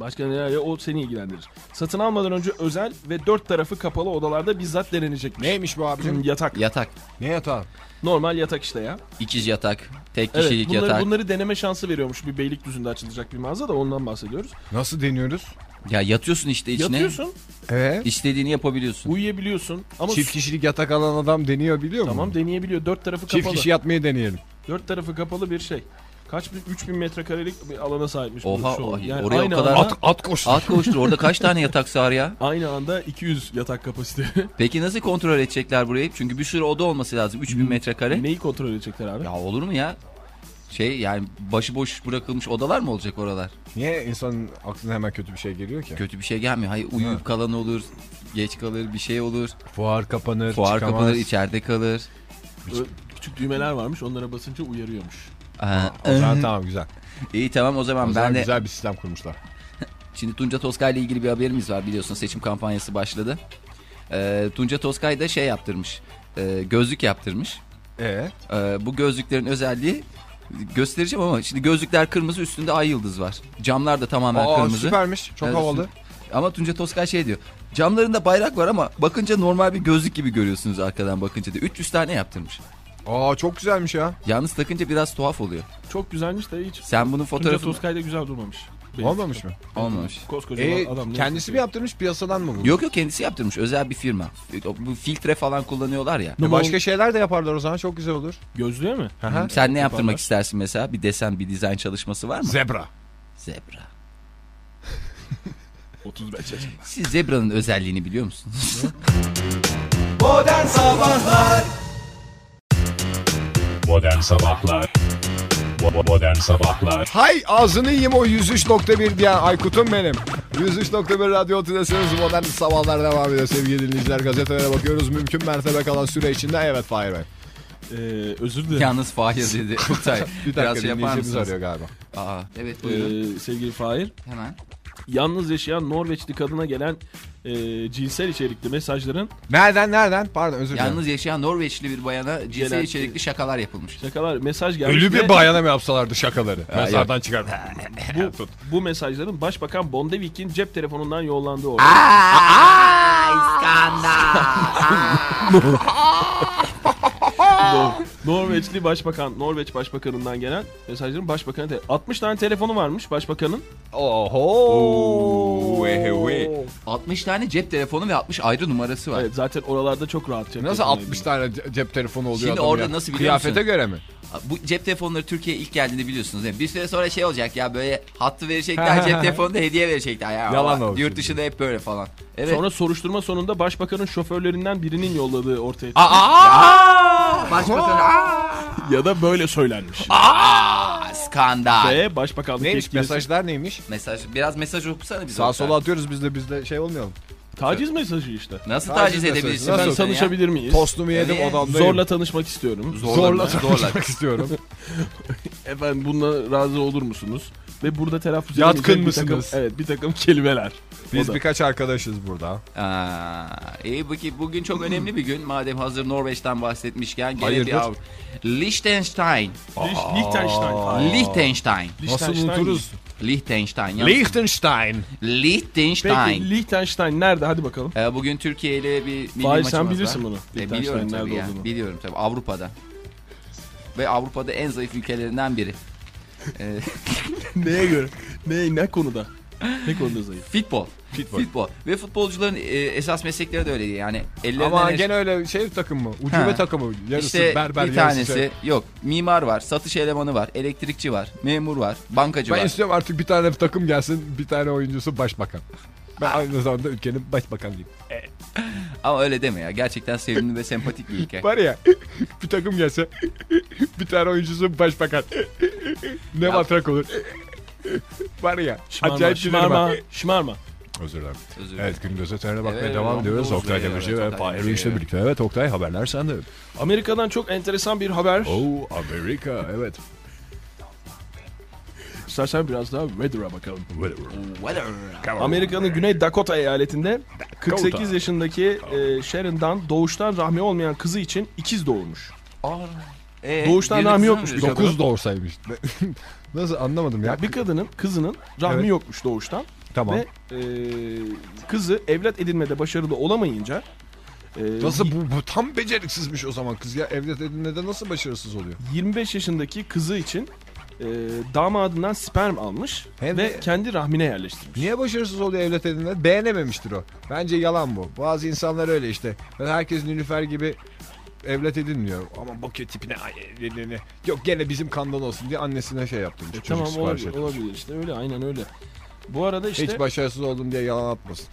Başka neler ya o seni ilgilendirir. Satın almadan önce özel ve dört tarafı kapalı odalarda bizzat denenecekmiş. Hmm,
Neymiş bu abicim?
yatak.
Yatak.
Ne yatağı?
Normal yatak işte ya.
İkiz yatak, tek
Evet,
kişilik
bunları,
yatak.
bunları deneme şansı veriyormuş bir Beylikdüzü'nde açılacak bir mağaza da ondan bahsediyoruz.
Nasıl deniyoruz?
Ya yatıyorsun işte içine.
Yatıyorsun,
Ee?
İstediğini yapabiliyorsun.
uyuyabiliyorsun ama
Çift kişilik yatak alan adam deniyor biliyor musun?
tamam deneyebiliyor. Dört tarafı
Çift
kapalı.
kişi yatmayı deneyelim.
Dört tarafı kapalı bir şey. Kaç bin, 3000 metrekarelik bir alana sahipmiş bu
Oha,
şu
oha,
an. Yani
oraya o
aynı
kadar-
anda,
At- At koştur. Orada kaç tane yatak sığar ya?
aynı anda 200 yatak kapasite.
Peki nasıl kontrol edecekler burayı? Çünkü bir sürü oda olması lazım. 3000 metrekare.
Hmm. Neyi kontrol edecekler abi?
Ya olur mu ya? Şey yani başıboş bırakılmış odalar mı olacak oralar?
Niye insanın aklına hemen kötü bir şey geliyor ki?
Kötü bir şey gelmiyor. Hayır uyuyup kalan olur. Geç kalır bir şey olur.
Fuar kapanır,
Fuar
çıkamaz.
kapanır içeride kalır.
Ö- Küçük düğmeler varmış onlara basınca uyarıyormuş.
Aa,
O zaman tamam güzel.
İyi tamam o zaman
O zaman
ben de
güzel bir sistem kurmuşlar.
Şimdi Tunca Toskay ile ilgili bir haberimiz var biliyorsunuz seçim kampanyası başladı. Ee, Tunca Toskay da şey yaptırmış. e, gözlük yaptırmış.
Ee?
Ee, bu gözlüklerin özelliği göstereceğim ama şimdi gözlükler kırmızı üstünde ay yıldız var. Camlar da tamamen
Aa,
kırmızı.
süpermiş. Çok
Evet,
havalı.
süper. Ama Tunca Toskay şey diyor. Camlarında bayrak var ama bakınca normal bir gözlük gibi görüyorsunuz arkadan bakınca diyor. 300 tane yaptırmış.
Aa çok güzelmiş ya.
Yalnız takınca biraz tuhaf oluyor.
Çok güzelmiş de hiç.
Sen bunun
Tunca
fotoğrafını...
Toskay'da güzel durmamış. Benim
Olmamış mı?
Olmamış.
Koskoca
Ee,
adam. ne
kendisi mi
yapıyor?
yaptırmış piyasadan mı bu?
Yok yok kendisi yaptırmış özel bir firma. E, Bu filtre falan kullanıyorlar ya.
E, başka şeyler de yaparlar o zaman çok güzel olur.
Gözlüğe mi?
Aha.
Sen ne yaptırmak
Yapanlar.
istersin mesela? Bir desen, bir dizayn çalışması var mı?
Zebra.
Zebra.
35 yaşında.
Siz zebranın özelliğini biliyor musunuz?
Modern Sabahlar Bo- Modern Sabahlar
Hay ağzını yiyeyim o 103.1 diyen Aykut'um benim. 103.1 radyo tülesiniz modern sabahlar devam ediyor sevgili dinleyiciler. Gazetelere bakıyoruz mümkün mertebe kalan süre içinde evet Fahir Bey.
Ee, özür dilerim.
Yalnız Fahir dedi. Oktay,
Bir
biraz
dakika
şey yapar
dinleyicimiz
mısınız?
arıyor galiba.
Aa, evet buyurun.
Ee, sevgili Fahir.
Hemen.
Yalnız yaşayan Norveçli kadına gelen e, cinsel içerikli mesajların
Nereden nereden? Pardon özür dilerim.
Yalnız yaşayan Norveçli bir bayana cinsel
Gelen-
içerikli şakalar yapılmış.
şakalar mesaj gelmiş.
Ölü
ve
bir bayana mı yapsalardı şakaları? Mezardan çıkar.
bu, bu mesajların Başbakan Bondevik'in cep telefonundan yollandığı ortaya. Nor- Norveçli Başbakan, Norveç Başbakanından gelen mesajların Başbakan'a te- 60 tane telefonu varmış Başbakan'ın.
Oho.
60 tane cep telefonu ve 60 ayrı numarası var.
Evet zaten oralarda çok rahat cep
Nasıl
telefonu
60 tane ce- cep telefonu oluyor
Şimdi
adamın
orada
ya?
nasıl biliyor
Kıyafete
musun?
göre mi?
Bu cep telefonları Türkiye'ye ilk geldiğinde biliyorsunuz değil mi? Bir süre sonra şey olacak ya böyle hattı verecekler cep telefonu da hediye verecekler. Ya,
Yalan
Allah,
olsun.
Yurt dışında hep böyle falan. Evet.
Sonra soruşturma sonunda Başbakan'ın şoförlerinden birinin yolladığı ortaya
Başbakan
ya da böyle söylenmiş.
skandal.
Ve Başbakanlık
Neymiş
yetkilisi-
mesajlar neymiş?
Mesaj biraz mesaj okusana bize.
Sağa
Oktay.
sola atıyoruz biz de biz de şey olmayalım.
Taciz mesajı işte.
Nasıl
Taciz
taciz
meselesi.
edebilirsin?
Nasıl?
Ben
insanı ya?
tanışabilir miyiz? Ee,
Tostumu yedim
Yani-
odamdayım.
Zorla tanışmak istiyorum.
Zorla
Zorla. Zorla.
tanışmak istiyorum.
Efendim bununla razı olur musunuz? Ve burada telaffuz
Yatkın
edemeyeceğim bir takım-
mısınız?
evet bir takım kelimeler.
Biz
O da.
birkaç arkadaşız burada.
Aa, iyi bu- bugün çok önemli bir gün. Madem hazır Norveç'ten bahsetmişken gene
Hayırdır?
bir av. Liechtenstein.
Liechtenstein.
Liechtenstein.
Nasıl
Liechtenstein.
unuturuz?
Liechtenstein. yalnız-
Liechtenstein.
Liechtenstein.
Peki Liechtenstein nerede? Hadi bakalım.
Ee, bugün Türkiye ile bir milli
Fahir,
maçımız
sen
var.
bilirsin bunu.
Ee,
Liechtenstein
biliyorum
nerede
tabii ya.
olduğunu.
Biliyorum tabii. Avrupa'da. Ve Avrupa'da en zayıf ülkelerinden biri. Ee,
Neye göre? Ne, ne konuda? Ne konuda zayıf?
futbol. Futbol. Ve futbolcuların e, esas meslekleri de öyle yani. Ellerinden
Ama
es-
gene öyle şey takım mı? Ucube
Ha.
takımı. Yarısı
İşte
berber
bir
yarısı
tanesi
şey.
yok. Mimar var, satış elemanı var, elektrikçi var, memur var, bankacı
Ben
var.
istiyorum artık bir tane takım gelsin bir tane oyuncusu başbakan. Ben aynı zamanda ülkenin başbakanıyım.
Ama öyle deme ya. Gerçekten sevimli ve sempatik bir ülke.
Var ya bir takım gelse bir tane oyuncusu başbakan. ne matrak olur. Var ya
Şımarma,
acayip gülerim ha.
şımarma, şımarma.
Özür dilerim.
Özür dilerim.
Evet günün gözetlerine bakmaya
Evet,
devam
Rambo
ediyoruz.
Uzun
Oktay
ya,
Demirci
evet,
ve
Ee, Oktay
Fahir
Demirci.
Üç'le birlikte. Evet Oktay haberler sende.
Amerika'dan çok enteresan bir haber.
Oo Oh, Amerika evet.
İstersen biraz daha weather'a bakalım.
Whatever.
Amerika'nın Güney Dakota eyaletinde 48 yaşındaki e, Sharon Dunn doğuştan rahmi olmayan kızı için ikiz doğurmuş.
Aa, ee,
Doğuştan
birlikte
rahmi
mi
yokmuş.
yaşadın?
Dokuz doğursaymış. Nasıl anlamadım ya.
Ya bir kadının kızının rahmi
Evet.
yokmuş doğuştan
tamam.
ve e, kızı evlat edinmede başarılı olamayınca e,
Nasıl bu, bu tam beceriksizmiş o zaman kız ya. Evlat edinmede nasıl başarısız oluyor?
25 yaşındaki kızı için e, damadından sperm almış
Hem
ve
de-
kendi rahmine yerleştirmiş.
Niye başarısız oluyor evlat edinmede? Beğenememiştir o. Bence yalan bu. Bazı insanlar öyle işte. Ben herkes Nilüfer gibi evlat edinmiyor. Ama bakıyor tipine ay, evliliğine. Yok gene bizim kandan olsun diye annesine şey yaptım.
E,
Çocuk
tamam
sipariş
olabilir,
ettim.
olabilir işte öyle aynen öyle. Bu arada işte
Hiç başarısız oldum diye yalan atmasın.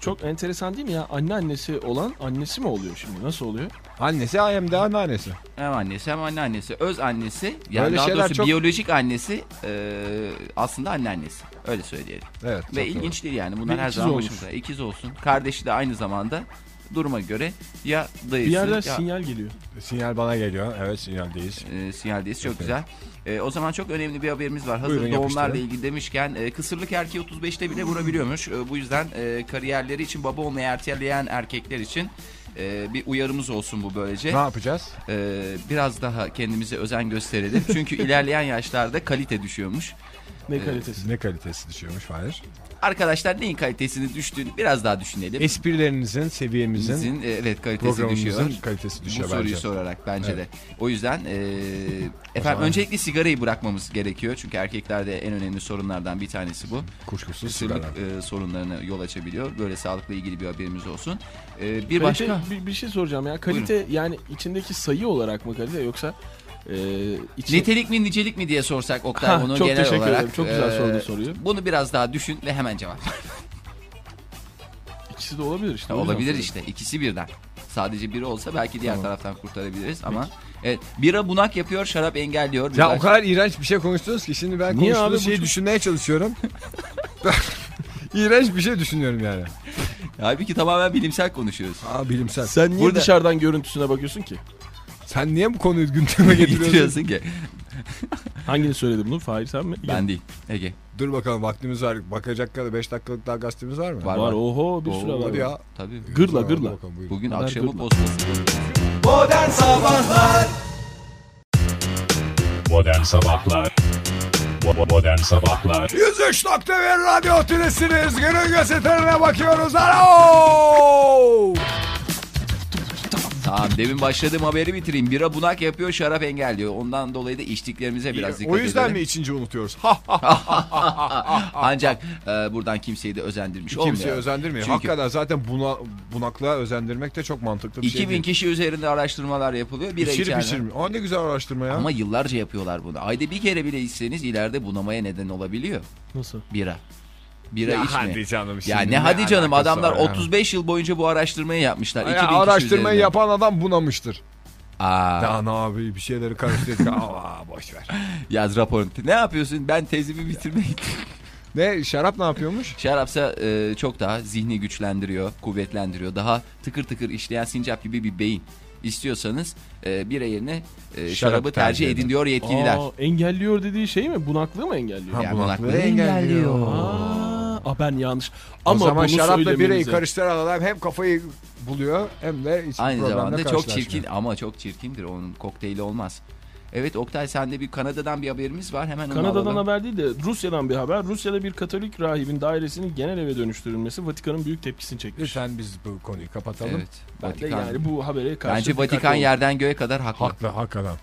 çok enteresan değil mi ya? Anneannesi olan annesi mi oluyor şimdi? Nasıl oluyor?
Annesi hem de anneannesi.
Hem annesi hem anneannesi. Öz annesi yani
Böyle
daha
şeyler
doğrusu
çok-
biyolojik annesi e, aslında anneannesi. Öyle söyleyelim.
Evet. çok
Ve
doğru.
ilginç değil yani bunlar
Bir
her
ikiz
zaman
olmuş.
başımıza. İkiz olsun. Kardeşi de aynı zamanda duruma göre ya
Bir
dayısı
yerden
ya
sinyal geliyor.
E, Sinyal bana geliyor. Evet sinyaldeyiz.
e, sinyaldeyiz. Çok güzel. E, o zaman çok önemli bir haberimiz var. Hazır
Buyurun,
doğumlarla
yapıştırın.
ilgili demişken e, kısırlık erkeği 35'te bile vurabiliyormuş. E, bu yüzden e, kariyerleri için baba olmayı erteleyen erkekler için e, bir uyarımız olsun bu böylece.
Ne yapacağız?
Ee, biraz daha kendimize özen gösterelim. Çünkü ilerleyen yaşlarda kalite düşüyormuş. E,
Ne kalitesi?
Ne kalitesi düşüyormuş Fahir?
Arkadaşlar neyin kalitesini düştüğünü biraz daha düşünelim.
Esprilerinizin, seviyemizin,
Bizim, e, evet kalitesi düşüyor.
programımızın kalitesi
Bu
düşüyor
soruyu
bence.
sorarak bence de. O yüzden e, efendim
zaman-
öncelikle sigarayı bırakmamız gerekiyor. Çünkü erkeklerde en önemli sorunlardan bir tanesi bu.
Kuşkusuz sigara.
Kısırlık e, sorunlarına yol açabiliyor. Böyle sağlıkla ilgili bir haberimiz olsun. E, bir
Kalite-
başka
bir, bir şey soracağım ya. Kalite yani içindeki sayı olarak mı kalite yoksa e, içi-
nitelik mi nicelik mi diye sorsak Oktay
Ha,
onu
çok
genel
teşekkür
olarak.
ederim. Çok güzel
e,
sordun soruyu.
Bunu biraz daha düşün ve hemen cevap.
İkisi de olabilir işte.
Ya
o yüzden
olabilir
soruyorum.
işte ikisi birden. Sadece biri olsa belki diğer taraftan kurtarabiliriz ama evet bira bunak yapıyor, şarap engelliyor.
Ya
Biraz-
o kadar iğrenç bir şey konuştunuz ki şimdi ben
Niye abi? Bu
konuştuğunuz şeyi
çok-
düşünmeye çalışıyorum. iğrenç bir şey düşünüyorum yani.
Halbuki tamamen bilimsel konuşuyoruz.
Aa bilimsel. Sen,
Sen niye
Burada-
dışarıdan görüntüsüne bakıyorsun ki?
niye bu konuyu gündeme getiriyorsun?
Getiriyorsun ki.
Hangini söyledi bunu? Fahir sen mi?
Ben değil. Ege.
Dur bakalım vaktimiz var. Bakacak kadar 5 dakikalık daha gazetemiz var mı?
Var
Var
var.
oho bir sürü var.
Hadi ya.
Tabii.
Gırla
Hadi
gırla.
bakalım, buyurun.
Bugün
Haber
akşamı
durma.
postası.
Modern Sabahlar Bo- Modern Sabahlar
103.1 Radyo Tülesi'niz. Günün gazetelerine bakıyoruz. Alo!
Tamam demin başladığım haberi bitireyim. Bira bunak yapıyor, şarap engelliyor. Ondan dolayı da içtiklerimize biraz dikkat
o yüzden
edelim.
mi içince unutuyoruz? Ha, Ah,
Ancak e, buradan kimseyi de özendirmiş şey olmuyor.
kimseye özendirmiyor.
Çünkü-
Hakikaten zaten buna, bunaklığa özendirmek de çok mantıklı bir şey
2000
değil.
kişi üzerinde araştırmalar yapılıyor. Bira
İçirip
içenler-
içirmiyor. Aa ne güzel araştırma ya.
Ama yıllarca yapıyorlar bunu. Ayda bir kere bile içseniz ileride bunamaya neden olabiliyor.
Nasıl?
Bira. Bira
Ya
içme.
hadi canım
ya
şimdi
ne hadi canım
alakası
adamlar
var ya?
35 yıl boyunca bu araştırmayı yapmışlar.
Ya
2000 kişi
araştırmayı
üzerinden.
yapan adam bunamıştır.
Aa,
Ya ne abi bir şeyleri karıştırdık. Aa boş ver.
yaz raporunu. Ne yapıyorsun? Ben tezimi bitirmeyi.
Ne şarap ne yapıyormuş?
Şarapsa e, çok daha zihni güçlendiriyor, kuvvetlendiriyor. Daha tıkır tıkır işleyen sincap gibi bir beyin. İstiyorsanız e, bira yerine
Şarap
e, şarabı tercih
tercih
edin diyor yetkililer.
Aa, engelliyor dediği şey mi? Bunaklığı mı engelliyor?
Ha,
Ya
bunaklığı
bunaklığı
engelliyor.
Aa, aa, ben yanlış.
Ama
Ama
o zaman
bunu
şarapla bireyi
söylemenize-
karıştıran adam hem kafayı buluyor hem de iç
Aynı
problemle
zamanda çok
karşılaşmıyor.
çirkin ama çok çirkindir onun kokteyli olmaz. Evet Oktay sende bir Kanada'dan bir haberimiz var. Hemen onu
Kanada'dan
alalım.
haber değil de Rusya'dan bir haber. Rusya'da bir Katolik rahibin dairesinin genel eve dönüştürülmesi Vatikan'ın büyük tepkisini çekmiş.
Lütfen biz bu konuyu kapatalım.
Evet.
Ben de
Vatikan.
yani bu habere karşı
Bence
dikkatli
Vatikan
olun.
yerden göğe kadar haklı.
Haklı hakikaten.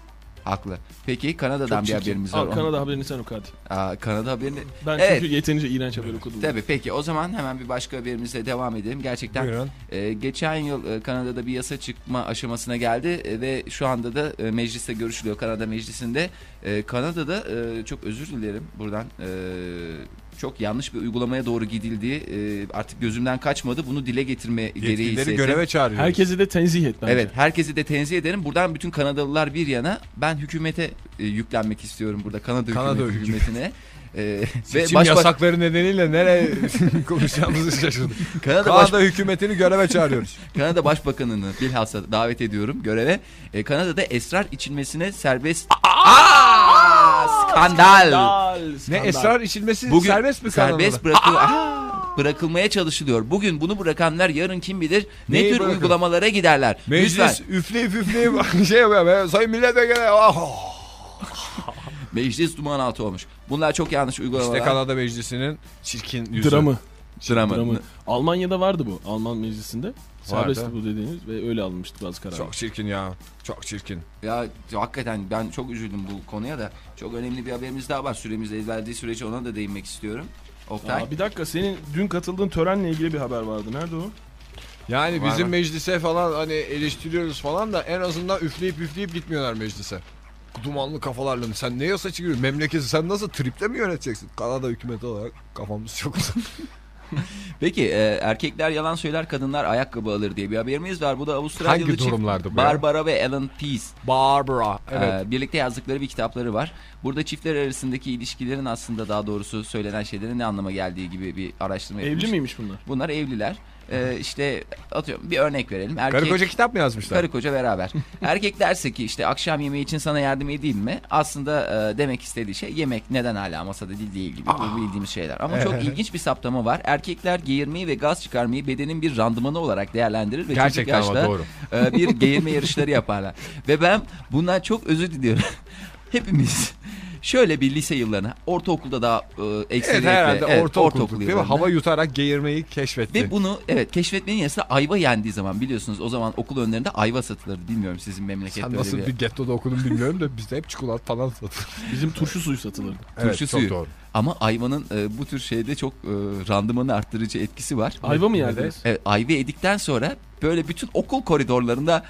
Haklı. Peki Kanada'dan
Çok
bir
çirkin.
haberimiz var.
Al Kanada haberini sen oku hadi.
Aa, Kanada haberini.
Ben
Evet.
çünkü yeterince iğrenç haber okudum.
Tabii peki o zaman hemen bir başka haberimizle devam edelim. Gerçekten
Buyurun.
e, geçen yıl e, Kanada'da bir yasa çıkma aşamasına geldi e, ve şu anda da e, mecliste görüşülüyor Kanada Meclisi'nde. E, Kanada'da e, çok özür dilerim buradan e, çok yanlış bir uygulamaya doğru gidildiği e, artık gözümden kaçmadı. Bunu dile getirme gereği
Yetkilileri
hissettim.
göreve çağırıyoruz.
Herkesi de tenzih et bence.
Evet herkesi de tenzih ederim. Buradan bütün Kanadalılar bir yana ben hükümete e, yüklenmek istiyorum burada Kanada,
Kanada
hükümeti-
hükümeti.
hükümetine. E,
Ve
baş-
yasakları nedeniyle nereye konuşacağımızı şaşırdık.
Kanada, baş-
Kanada hükümetini göreve çağırıyoruz.
Kanada Başbakanını bilhassa davet ediyorum göreve. E, Kanada'da esrar içilmesine serbest... Aa! Skandal!
Al,
ne
skandal.
esrar içilmesi
Bugün
serbest mi Kanada'da?
Serbest bırakıl- Aa! bırakılmaya çalışılıyor. Bugün bunu bırakanlar yarın kim bilir ne
Neyi
tür
bırakın?
uygulamalar giderler. Lütfen.
Meclis üfleyip üfleyip şey yapıyor. be, Sayın milletvekili. Ah, ah.
Meclis duman altı olmuş. Bunlar çok yanlış uygulamalar.
İşte Kanada Meclisi'nin çirkin yüzü.
Dramı.
Dramı.
Dramı. Almanya'da vardı bu. Alman meclisinde. Serbestti
Vardı.
bu dediğiniz ve öyle alınmıştı bazı kararlar.
Çok çirkin ya. Çok çirkin.
Ya hakikaten ben çok üzüldüm bu konuya da. Çok önemli bir haberimiz daha var. Süremiz el verdiği sürece ona da değinmek istiyorum. Oktay.
Aa, bir dakika senin dün katıldığın törenle ilgili bir haber vardı. Nerede o?
Yani
Var
bizim
var.
meclise falan hani eleştiriyoruz falan da en azından üfleyip üfleyip gitmiyorlar meclise. Dumanlı kafalarla sen ne yasa çıkıyorsun? Memleketi sen nasıl tripte mi yöneteceksin? Kanada hükümeti olarak kafamız çok uzak.
Peki e, erkekler yalan söyler kadınlar ayakkabı alır diye bir haberimiz var. Bu da Avustralyalı
Hangi
çift
durumlarda bu ya?
Barbara ve Alan Pease
Barbara. Evet.
e, birlikte yazdıkları bir kitapları var. Burada çiftler arasındaki ilişkilerin aslında daha doğrusu söylenen şeylerin ne anlama geldiği gibi bir araştırma yapmış.
Evli miymiş bunlar?
Bunlar evliler. E, işte atıyorum bir örnek verelim. Erkek,
Karı koca kitap mı yazmışlar?
Karı koca beraber. Erkek derse ki işte akşam yemeği için sana yardım edeyim mi? Aslında e, demek istediği şey yemek neden hala masada değil değil gibi
Ah.
bu bildiğimiz şeyler. Ama çok ilginç bir saptama var. Erkekler geğirmeyi ve gaz çıkarmayı bedenin bir randımanı olarak değerlendirir ve çocuk
Gerçekten ama
yaşta
doğru.
e, bir geğirme yarışları yaparlar. Ve ben bundan çok özür diliyorum. Hepimiz şöyle bir lise yıllarına ortaokulda daha e,
Evet
ekseriyetle
herhalde
evet,
ortaokulluk değil mi?
yıllarına.
Hava yutarak geğirmeyi keşfetti.
Ve bunu evet keşfetmenin yanı sıra ayva yendiği zaman biliyorsunuz o zaman okul önlerinde ayva satılırdı. Bilmiyorum sizin memlekette
Sen
öyle
nasıl
bir...
bir gettoda okudun bilmiyorum da bizde hep çikolata falan satılır.
Bizim turşu suyu satılırdı.
Turşu
çok
suyu.
doğru.
Ama ayvanın e, bu tür şeyde çok e, randımanı arttırıcı etkisi var.
Ayva mı yerdiniz?
Evet, ayva yedikten sonra böyle bütün okul koridorlarında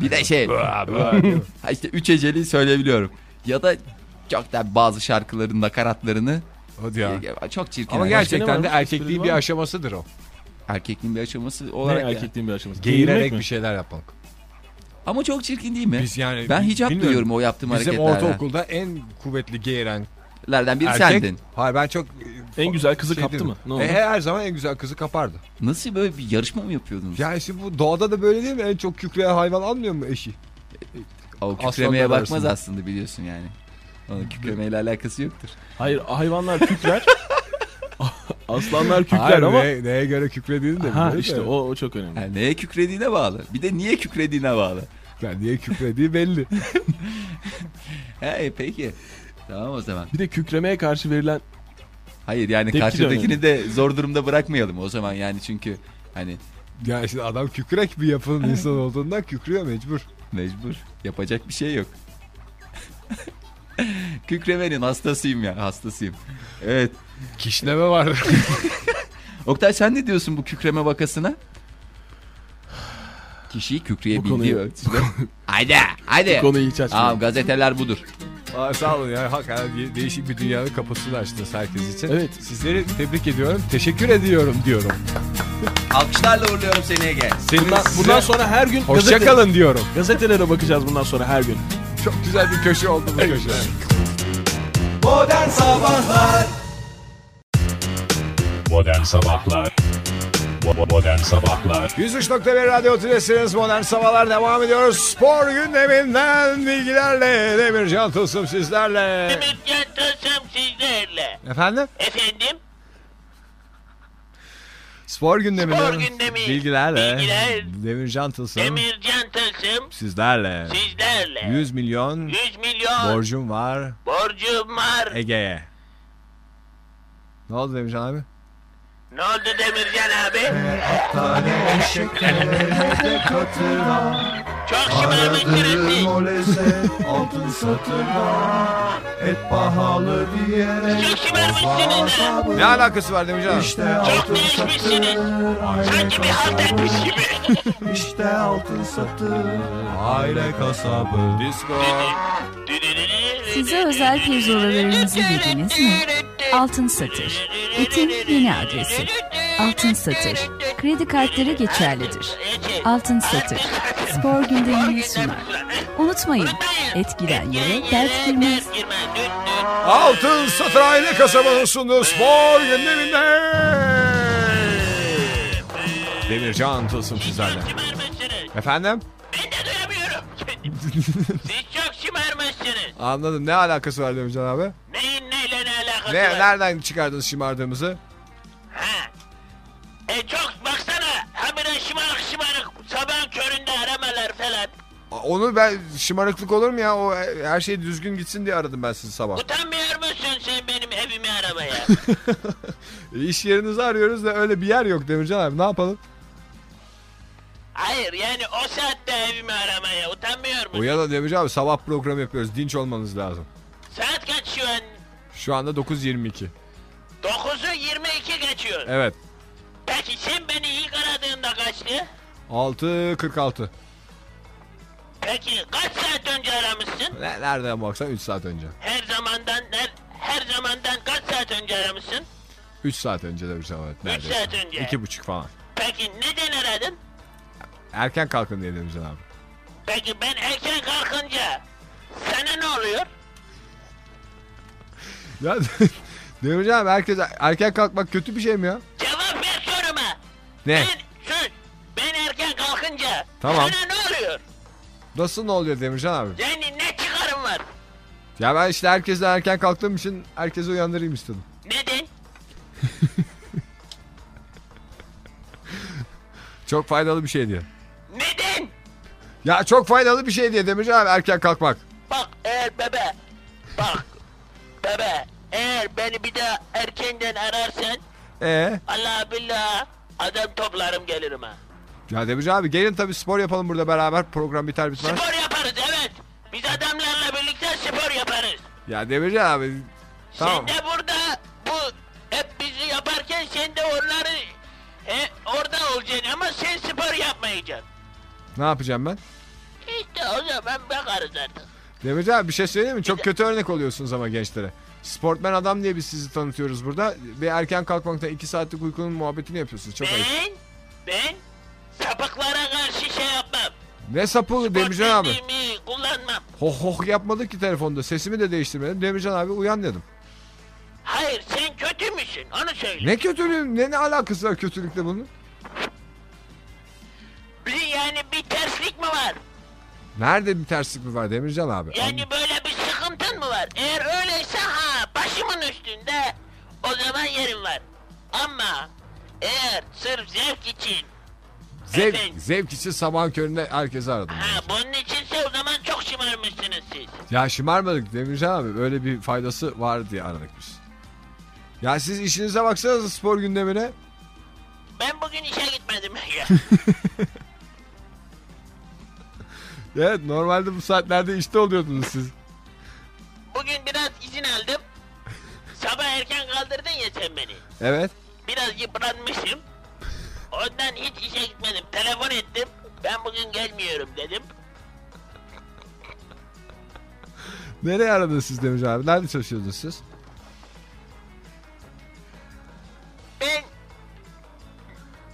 bir de şey Ha işte üç eceli söyleyebiliyorum. Ya da çok da bazı şarkıların nakaratlarını
Hadi ya.
e, çok çirkin.
Ama
Yani
ne
gerçekten
varmış?
de erkekliğin
Esprili
bir
var mı?
aşamasıdır o.
erkekliğin bir aşaması
Ne
olarak. ya.
erkekliğin bir aşaması.
Geğirerek
mi?
bir şeyler yapmak.
Ama çok çirkin değil mi?
Biz yani
ben hicap
bilmiyorum.
duyuyorum o yaptığım
Bizim
hareketlerden.
ortaokulda en kuvvetli geğiren
Lerden biri
erkek.
sendin.
Hayır ben çok...
En güzel kızı kaptı
dedim.
mı? Ne oldu?
E, her zaman en güzel kızı kapardı.
Nasıl böyle bir yarışma mı yapıyordunuz?
Yani şimdi bu doğada da böyle değil mi? En çok kükreyen hayvan almıyor mu eşi?
o
aslanlar
kükremeye bakmaz
arasında.
aslında biliyorsun yani. Onun kükremeyle alakası yoktur.
Hayır hayvanlar kükrer. Aslanlar kükrer ama.
neye, neye göre kükrediğini de
Ha
biliyor
işte
da.
o, o çok önemli.
Yani neye kükrediğine bağlı. Bir de niye kükrediğine bağlı.
Yani niye kükrediği belli.
He peki. Tamam o zaman.
Bir de kükremeye karşı verilen
Hayır yani
Tepki de
karşıdakini de zor durumda bırakmayalım o zaman yani çünkü hani
yani şimdi adam kükrek bir yapının insan olduğundan kükrüyor mecbur.
mecbur yapacak bir şey yok. Kükremenin hastasıyım ya hastasıyım. Evet.
Kişneme var.
Oktay sen ne diyorsun bu kükreme vakasına? Kişiyi kükreyebildiği
konuyu-
ölçüde. Hadi hadi.
konuyu hiç açmayalım.
Tamam gazeteler budur.
Aa, sağ olun ya hakikaten de- değişik bir dünyanın kapısını açtınız herkes için.
Evet.
Sizleri tebrik ediyorum, teşekkür ediyorum diyorum.
Alkışlarla uğurluyorum seni Ege.
Bundan, bundan sonra her gün gazete-
Hoşçakalın diyorum.
gazetelere bakacağız bundan sonra her gün.
Çok güzel bir köşe oldu bu köşe.
Modern Sabahlar Bo- Modern Sabahlar
103.1 Radyo Tülesi'niz modern sabahlar devam ediyoruz. Spor gündeminden bilgilerle Demircan Tosum sizlerle.
Demirken tasam sizlerle.
Efendim?
Efendim?
Spor gündeminden
Spor gündemi.
bilgilerle
Bilgiler.
Demircan Tosum
Demircan tasım
sizlerle.
sizlerle.
100 milyon
100 milyon milyon.
Borcum var
Borcum var.
Ege'ye. Ne oldu Demircan abi?
Ne oldu Demircan abi? Çok şımarmışsınız.
altın satırlar et pahalı
Çok şımarmışsınız. ha.
Ne alakası var Demircan abi?
Çok değişmişsiniz. Sanki bir halt etmiş gibi.
İşte altın satır aile kasabı. Disco.
Size özel pirzolarınızı yediniz mi? Altın Satır. Etin yeni adresi. Altın Satır. Kredi kartları geçerlidir. Altın Satır. Spor gündemini sunar. Unutmayın. Et giren yere dert girmez.
Altın Satır Aile Kasabı'nın sunduğu spor gündeminde.
Demircan Tılsım sizlerle. Efendim?
Siz çok şımarmışsınız.
Anladım. Ne alakası var Demircan abi?
Neyin neyle ne alakası
Ne,
var?
nereden çıkardınız şımardığımızı?
E çok baksana. Habire şımarık şımarık. Sabah köründe aramalar falan.
A- Onu ben şımarıklık olur mu ya? O e, her şey düzgün gitsin diye aradım ben sizi sabah.
Utanmıyor musun sen benim evimi aramaya?
E, İş yerinizi arıyoruz da öyle bir yer yok Demircan abi. Ne yapalım?
Hayır yani o saatte evimi aramaya utanmıyor musun?
O ya da Demircan abi sabah programı yapıyoruz. Dinç olmanız lazım.
Saat kaç şu an?
Şu anda 9.22.
9'u 22 geçiyor.
Evet.
Peki sen beni ilk aradığında kaçtı?
6.46.
Peki kaç saat önce aramışsın?
Ne, nereden baksan 3 saat önce.
Her zamandan her, her zamandan kaç saat önce aramışsın?
3 saat önce Demircan abi. neredeyse.
saat önce.
İki buçuk falan.
Peki neden aradın?
Erken kalkın diye Demircan abi.
Peki ben erken kalkınca sana ne oluyor?
Ya Demircan abi herkes erken kalkmak kötü bir şey mi ya?
Cevap ver soruma.
Ne?
Ben, sus. Ben erken kalkınca
Tamam.
sana ne oluyor?
Nasıl ne oluyor Demircan abi?
Yani ne çıkarım var?
Ya ben işte herkesten erken kalktığım için herkesi uyandırayım istedim.
Neden?
Çok faydalı bir şey diye.
Neden?
Ya çok faydalı bir şey diye Demircan abi erken kalkmak.
Bak eğer bebe bak bebe eğer beni bir daha erkenden ararsan
Ee?
Allah billah adam toplarım gelirim ha.
Ya Demircan abi gelin tabii spor yapalım burada beraber program biter bitmez.
Spor yaparız evet. Biz adamlarla birlikte spor yaparız.
Ya Demircan abi tamam.
Sen de burada bu hep bizi yaparken sen de onları e, orada olacaksın ama sen spor yapmayacaksın.
Ne yapacağım ben?
İşte o zaman bakarız artık.
Demircan abi bir şey söyleyeyim mi? Çok kötü örnek oluyorsunuz ama gençlere. Sportmen adam diye biz sizi tanıtıyoruz burada. Ve erken kalkmakta 2 saatlik uykunun muhabbetini yapıyorsunuz. Çok ayıp.
Ben ben sapıklara karşı şey yapmam.
Ne sapı Demircan abi?
Kendimi kullanmam.
Hoh hoh yapmadık ki telefonda. Sesimi de değiştirmedim. Demircan abi uyan dedim.
Hayır sen kötü müsün onu söyle.
Ne kötülüğüm? Ne, ne alakası var kötülükle bunun?
Bir yani bir terslik mi var?
Nerede bir terslik mi var Demircan abi?
Yani böyle bir sıkıntın mı var? Eğer öyleyse ha başımın üstünde o zaman yerim var. Ama eğer sırf zevk için
Zevk,
Efendim?
zevk için sabahın köründe herkesi aradım.
ha bunun içinse o zaman çok şımarmışsınız siz.
Ya şımarmadık Demircan abi. Böyle bir faydası var diye aradık biz. Ya siz işinize baksanıza spor gündemine.
Ben bugün işe gitmedim ya.
Evet normalde bu saatlerde işte oluyordunuz siz.
bugün biraz izin aldım. Sabah erken kaldırdın ya sen beni.
Evet.
Biraz yıpranmışım. Ondan hiç işe gitmedim. Telefon ettim. Ben bugün gelmiyorum dedim.
Nereye aradınız siz Demircan abi? Nerede çalışıyordunuz siz?
Ben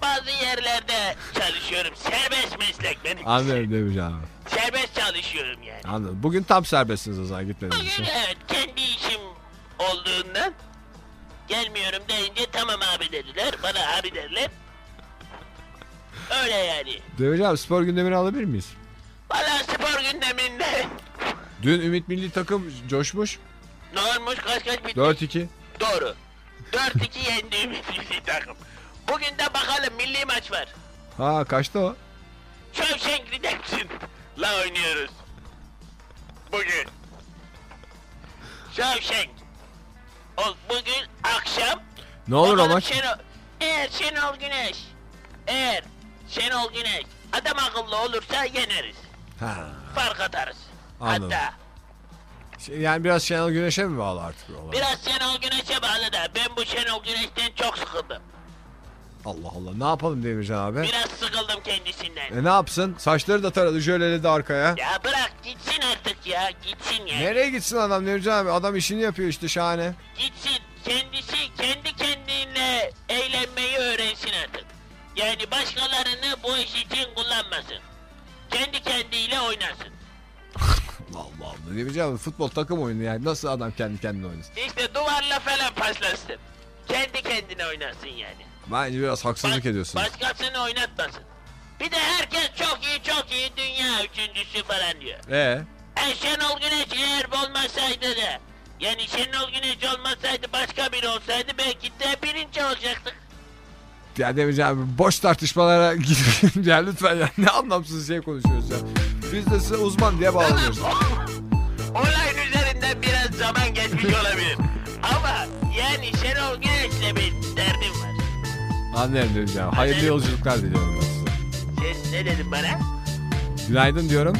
bazı yerlerde çalışıyorum. Serbest meslek benim.
Anladım Demircan abi.
Serbest çalışıyorum yani.
Anladım. Bugün tam serbestsiniz o zaman gitmediğiniz için.
Bugün evet kendi işim olduğundan gelmiyorum deyince tamam abi dediler. Bana abi derler. Öyle yani.
Demircan abi spor gündemini alabilir miyiz?
Valla spor gündeminde
Dün Ümit Milli Takım coşmuş.
ne olmuş kaç kaç bitti.
4-2.
Doğru. 4-2 yendiğimiz milli takım. Bugün de bakalım milli maç var.
Ha kaçtı o?
Shawshank Redemption la oynuyoruz. Bugün. Şavşenk. O bugün akşam
Ne olur o maç?
Şenol, eğer Şenol Güneş, eğer Şenol Güneş adam akıllı olursa yeneriz.
Ha,
Fark atarız.
anladım.
Hatta
Şey, yani biraz Şenol Güneş'e mi bağlı artık olay?
biraz Şenol Güneş'e bağlı da ben bu Şenol Güneş'ten çok sıkıldım.
Allah Allah. Ne yapalım Demircan abi?
Biraz sıkıldım kendisinden.
E ne yapsın? Saçları da taradı, jöleledi arkaya.
Ya bırak gitsin artık ya gitsin ya.
Nereye gitsin adam Demircan abi? Adam işini yapıyor işte şahane.
Gitsin kendisi kendi kendine eğlenmeyi öğrensin artık. Yani başkalarını bu iş için kullanmasın. Kendi kendiyle oynasın.
Allah'ım Demircan abi futbol takım oyunu yani. Nasıl adam kendi kendine oynasın?
İşte duvarla falan paslasın. Kendi kendine oynasın yani.
Bence biraz haksızlık ediyorsun.
Başkasını oynatmasın. Bir de herkes çok iyi çok iyi dünya üçüncüsü falan diyor.
E
E Şenol Güneş eğer olmasaydı da yani Şenol Güneş olmasaydı başka biri olsaydı belki de birinci olacaktık.
ya Demircan abi boş tartışmalara girelim ya lütfen ya. Ne anlamsız şey konuşuyoruz ya. Biz de size uzman diye bağlanıyoruz.
Olayın üzerinden biraz zaman geçmiş olabilir. Ama yani Şenol Güneş'le bir derdim var.
Anlarım Demircan abi. Hayırlı yolculuklar diliyorum ben size.
Sen ne dedin bana?
Günaydın diyorum.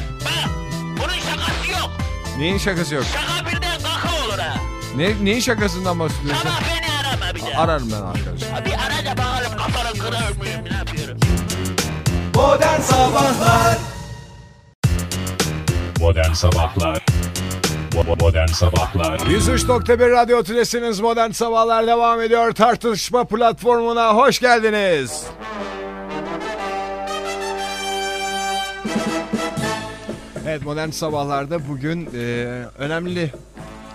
Bunun şakası yok.
Neyin şakası yok?
Şaka birden kaka olur ha.
Ne, neyin şakasından bahsediyorsun?
Sabah beni arama bir
A-
daha.
Ararım ben arkadaşım.
Bir ara da bakalım kafanı kırar mıyım ne yapıyorum.
Modern Sabahlar
Modern Sabahlar Bo- Modern Sabahlar
103.1 Radyo Tülesi'niz Modern Sabahlar devam ediyor. Tartışma platformuna hoş geldiniz.
Evet modern sabahlarda bugün e, önemli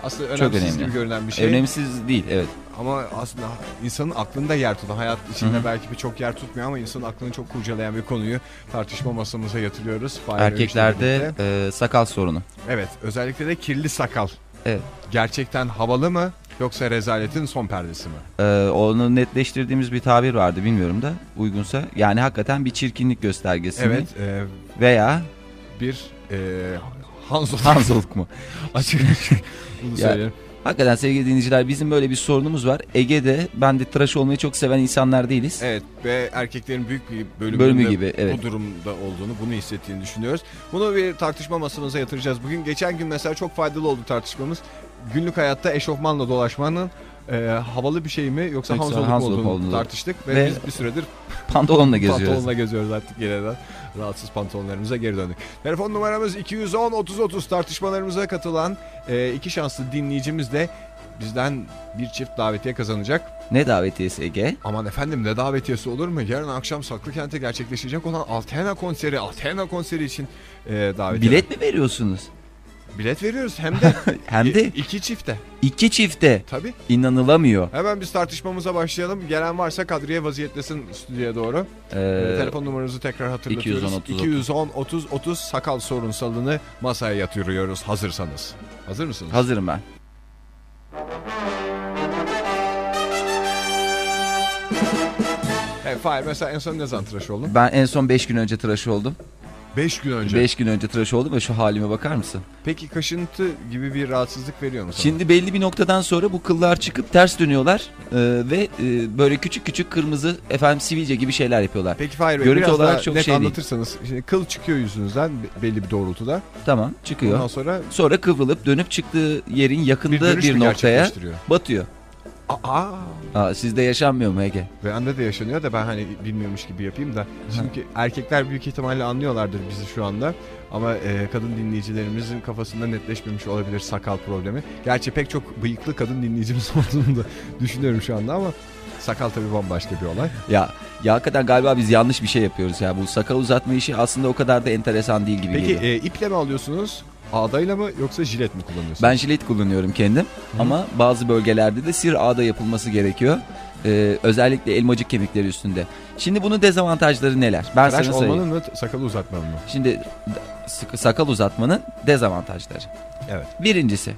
aslında
Çok
önemsiz
önemli.
gibi görünen bir şey.
Önemsiz değil evet.
Ama aslında insanın aklında yer tutan, hayat içinde belki birçok yer tutmuyor ama insanın aklını çok kurcalayan bir konuyu tartışma masamıza yatırıyoruz. Fahir Öğünç'le
Erkeklerde
birlikte.
e, sakal sorunu.
Evet özellikle de kirli sakal.
Evet.
Gerçekten havalı mı yoksa rezaletin son perdesi mi?
Ee, onu netleştirdiğimiz bir tabir vardı bilmiyorum da uygunsa. Yani hakikaten bir çirkinlik göstergesi mi?
Evet, e,
Veya
bir e, Hanzoluk.
Hanzoluk mu?
Açık bunu
Ya,
söyleyelim.
Hakikaten sevgili dinleyiciler bizim böyle bir sorunumuz var. Ege'de ben de tıraş olmayı çok seven insanlar değiliz.
Evet ve erkeklerin büyük bir bölümünde
Bölümü gibi, evet.
bu durumda olduğunu, bunu hissettiğini düşünüyoruz. Bunu bir tartışma masamıza yatıracağız. Bugün geçen gün mesela çok faydalı oldu tartışmamız. Günlük hayatta eşofmanla dolaşmanın e, havalı bir şey mi yoksa
Yoksa
hanzoluk,
Hanzoluk
olduğunu,
olduğunu.
tartıştık ve,
Ve
biz bir süredir
pantolonla geziyoruz.
Pantolonla geziyoruz artık yeniden. Rahatsız pantolonlarımıza geri döndük. Telefon numaramız 210 30 30 tartışmalarımıza katılan e, iki şanslı dinleyicimiz de bizden bir çift davetiye kazanacak.
Ne davetiyesi Ege?
Aman efendim ne davetiyesi olur mu? Yarın akşam Saklıkent'te gerçekleşecek olan Altena konseri, Altena konseri için e, davetiye.
Bilet mi veriyorsunuz?
Bilet veriyoruz hem de
Hem de
E, iki çifte.
iki çifte.
Tabii.
İnanılamıyor.
Hemen biz tartışmamıza başlayalım. Gelen varsa Kadriye vaziyetlesin stüdyoya doğru.
Ee,
Telefon numaranızı tekrar hatırlatıyoruz.
210 30
210 30 30 sakal sorunsalını masaya yatırıyoruz hazırsanız. Hazır mısınız?
Hazırım ben.
Evet, Fahir mesela en son ne zaman tıraş oldun?
Ben en son 5 gün önce tıraş oldum.
5 gün önce.
5 gün önce tıraş oldum ve şu halime bakar mısın?
Peki kaşıntı gibi bir rahatsızlık veriyor mu sana?
Şimdi belli bir noktadan sonra bu kıllar çıkıp ters dönüyorlar e, ve e, böyle küçük küçük kırmızı efendim sivilce gibi şeyler yapıyorlar.
Peki Fahir Bey
Görüntü
biraz
olarak
daha
çok
net
şey değil.
anlatırsanız. Şimdi kıl çıkıyor yüzünüzden belli bir doğrultuda.
Tamam
Ondan
çıkıyor.
sonra
Sonra kıvrılıp dönüp çıktığı yerin
bir
yakında bir,
dönüş mü
noktaya
gerçekleştiriyor?
batıyor.
Aa!
Aa, sizde yaşanmıyor mu Ege?
Ve anda da yaşanıyor da ben hani bilmiyormuş gibi yapayım da. Çünkü erkekler büyük ihtimalle anlıyorlardır bizi şu anda. Ama e, kadın dinleyicilerimizin kafasında netleşmemiş olabilir sakal problemi. Gerçi pek çok bıyıklı kadın dinleyicimiz olduğunu da düşünüyorum şu anda ama sakal tabii bambaşka bir olay.
Ya, ya hakikaten galiba biz yanlış bir şey yapıyoruz ya. Bu sakal uzatma işi aslında o kadar da enteresan değil gibi
Peki
geliyor.
e, iple mi alıyorsunuz? Ağdayla mı yoksa jilet mi kullanıyorsunuz?
Ben jilet kullanıyorum kendim ama bazı bölgelerde de sir ağda yapılması gerekiyor. Ee, özellikle elmacık kemikleri üstünde. Şimdi bunun dezavantajları neler? Ben
Tıraş
sana sayayım.
olmanın mı sakalı uzatmanın mı?
Şimdi da- sıkı- sakal uzatmanın dezavantajları.
Evet.
Birincisi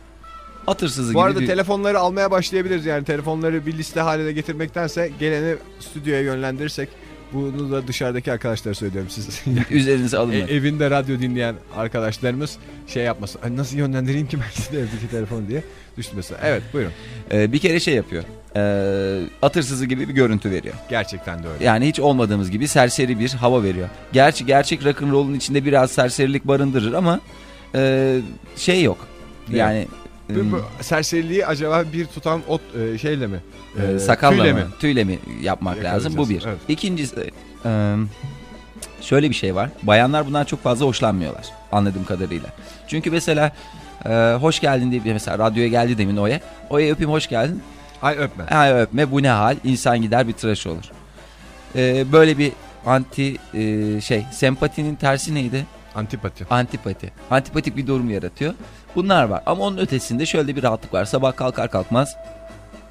atırsızı
Bu
gibi
arada
bir-
telefonları almaya başlayabiliriz yani telefonları bir liste haline getirmektense geleni stüdyoya yönlendirirsek Bunu da dışarıdaki arkadaşlara söylüyorum siz. E,
Üzerinize alın.
evinde radyo dinleyen arkadaşlarımız şey yapmasın. "Ay, Nasıl yönlendireyim ki ben size evdeki telefonu diye düşünmesin. Evet buyurun.
Ee, bir kere şey yapıyor. Ee, atırsızı gibi bir görüntü veriyor.
Gerçekten de öyle.
Yani hiç olmadığımız gibi serseri bir hava veriyor. Gerçi gerçek rock'n'roll'un içinde biraz serserilik barındırır ama e, şey yok.
Evet.
Yani
Bu-
Hmm.
bu serseriliği acaba bir tutam ot e, şeyle mi?
e,
E,
sakalla
tüyle
mı? Tüyle mi yapmak
Yakalayacağız.
lazım? Bu bir.
Evet.
İkincisi e, şöyle bir şey var. Bayanlar bundan çok fazla hoşlanmıyorlar anladığım kadarıyla. Çünkü mesela e, hoş geldin diye mesela radyoya geldi demin Oya. Oya öpeyim hoş geldin.
Ay öpme.
Ay öpme bu ne hal? İnsan gider bir tıraş olur. E, böyle bir anti e, şey sempatinin tersi neydi?
Antipati.
Antipati. Antipatik bir durum yaratıyor. Bunlar var ama onun ötesinde şöyle bir rahatlık var. Sabah kalkar kalkmaz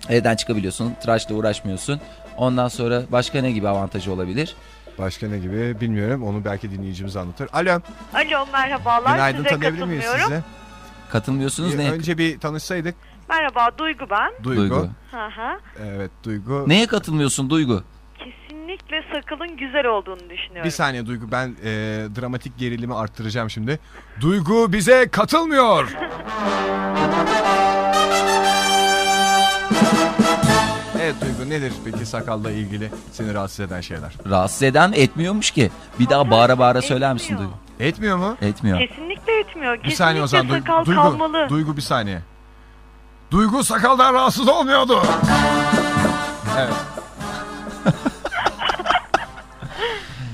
evden çıkabiliyorsun. Tıraşla uğraşmıyorsun. Ondan sonra başka ne gibi avantajı olabilir?
Başka ne gibi bilmiyorum. Onu belki dinleyicimiz anlatır. Alo.
Alo merhabalar
Günaydın,
size
tanıyabilir miyiz
katılmıyorum.
sizi?
Katılmıyorsunuz
Bir-
neye?
Önce bir tanışsaydık.
Merhaba Duygu ben.
Duygu.
Duygu.
Hı hı.
Evet Duygu.
Neye katılmıyorsun Duygu?
Kesinlikle sakalın güzel olduğunu düşünüyorum.
Bir saniye Duygu ben e, dramatik gerilimi arttıracağım şimdi. Duygu bize katılmıyor. evet Duygu nedir peki sakalla ilgili seni rahatsız eden şeyler?
Rahatsız eden etmiyormuş ki. Bir daha bağıra bağıra söyler misin Duygu?
Etmiyor mu?
Etmiyor.
Kesinlikle etmiyor.
Bir
Kesinlikle
saniye o zaman Duygu.
sakal
Duygu,
kalmalı.
Duygu bir saniye. Duygu sakaldan rahatsız olmuyordu. Evet.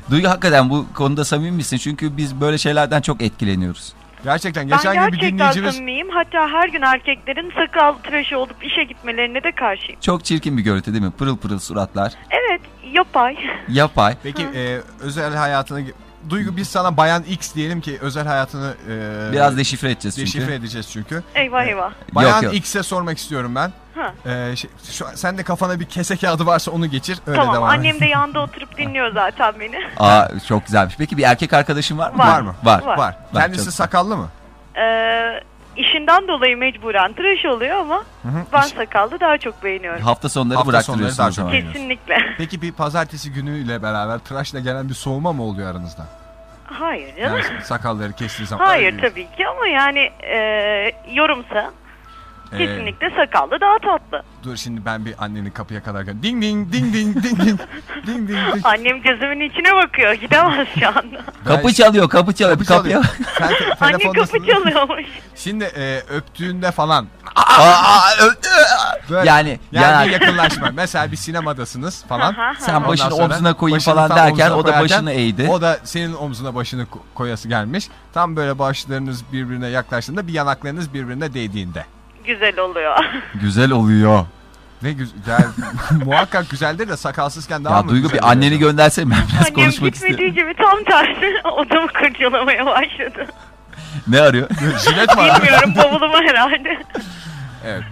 Duygu hakikaten bu konuda samimi misin? Çünkü biz böyle şeylerden çok etkileniyoruz.
Gerçekten
ben gerçekten samimiyim. Hatta her gün erkeklerin sakal tıraşı olup işe gitmelerine de karşıyım.
Çok çirkin bir görüntü değil mi? Pırıl pırıl suratlar.
Evet yapay.
Yapay.
Peki e, özel hayatına... Duygu biz sana bayan X diyelim ki özel hayatını... e,
Biraz deşifre edeceğiz çünkü.
Deşifre edeceğiz çünkü.
eyvah eyvah.
Bayan
yok.
X'e sormak istiyorum ben.
E- Ha.
E, şey, şu, an- sen de kafana bir kese kağıdı varsa onu geçir. Öyle
tamam
devam et.
annem de yanda oturup dinliyor zaten beni.
Aa çok güzelmiş. Peki bir erkek arkadaşın var mı?
Var. Var mı?
Var.
Var. Var.
Kendisi sakallı mı?
Ee, işinden dolayı mecburen tıraş oluyor ama ben sakallı daha çok beğeniyorum.
Hafta sonları
Hafta
bıraktırıyorsun
sonları daha
o zaman.
çok beğeniyorsun.
Kesinlikle.
Peki bir pazartesi günüyle beraber tıraşla gelen bir soğuma mı oluyor aranızda?
Hayır canım.
Yani sakalları kestiği zaman. Ee,
Hayır
Öyle değil.
tabii ki ama yani e, yorumsa
Ee,
kesinlikle sakallı daha tatlı.
Dur şimdi ben bir annenin kapıya kadar gö- Ding ding ding ding ding ding. ding ding ding.
Annem gözümün içine bakıyor gidemez şu anda.
Kapı çalıyor, kapı çalıyor.
Kapı
kapıya.
çalıyor. Sen te-
Anne
telefondasın.
kapı çalıyormuş.
Şimdi e, öptüğünde falan. Böyle-
Yani-
yani,
yani-
bir yakınlaşma. Mesela bir sinemadasınız falan.
Aha, aha.
Sen
Ondan
başını
sonra
omzuna koyayım
başını
falan
tam
derken
omzuna
o da
koyarken
başını eğdi.
O da senin omzuna başını ko- koyası gelmiş. Tam böyle başlarınız birbirine yaklaştığında bir yanaklarınız birbirine değdiğinde.
Güzel oluyor.
Güzel oluyor.
Ne güzel. muhakkak güzeldir de sakalsızken daha
ya
mı
Duygu
güzel
bir anneni
oluyor?
göndersene ben biraz
Annem
konuşmak istiyorum.
gitmediği gibi tam tersi odamı kurcalamaya başladı.
Ne arıyor?
Jilet var.
Bilmiyorum bavulumu herhalde.
Evet.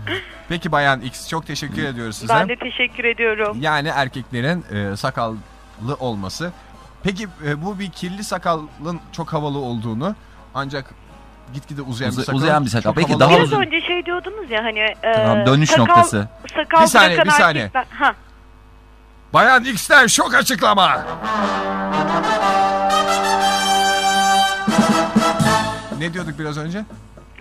Peki Bayan X çok teşekkür ediyoruz size.
Ben de teşekkür ediyorum.
Yani erkeklerin e, sakallı olması. Peki e, bu bir kirli sakalın çok havalı olduğunu ancak gitgide uzayan
Uza-
bir sakal.
uzayan bir sakal. Peki
E,
daha
Biraz
uzun.
önce şey diyordunuz ya hani e,
Tamam, dönüş
sakal,
noktası.
Sakal
Bir saniye,
bırakan
bir saniye.
erkekler- Ha,
Bayan X'ten şok açıklama. Ne diyorduk biraz önce?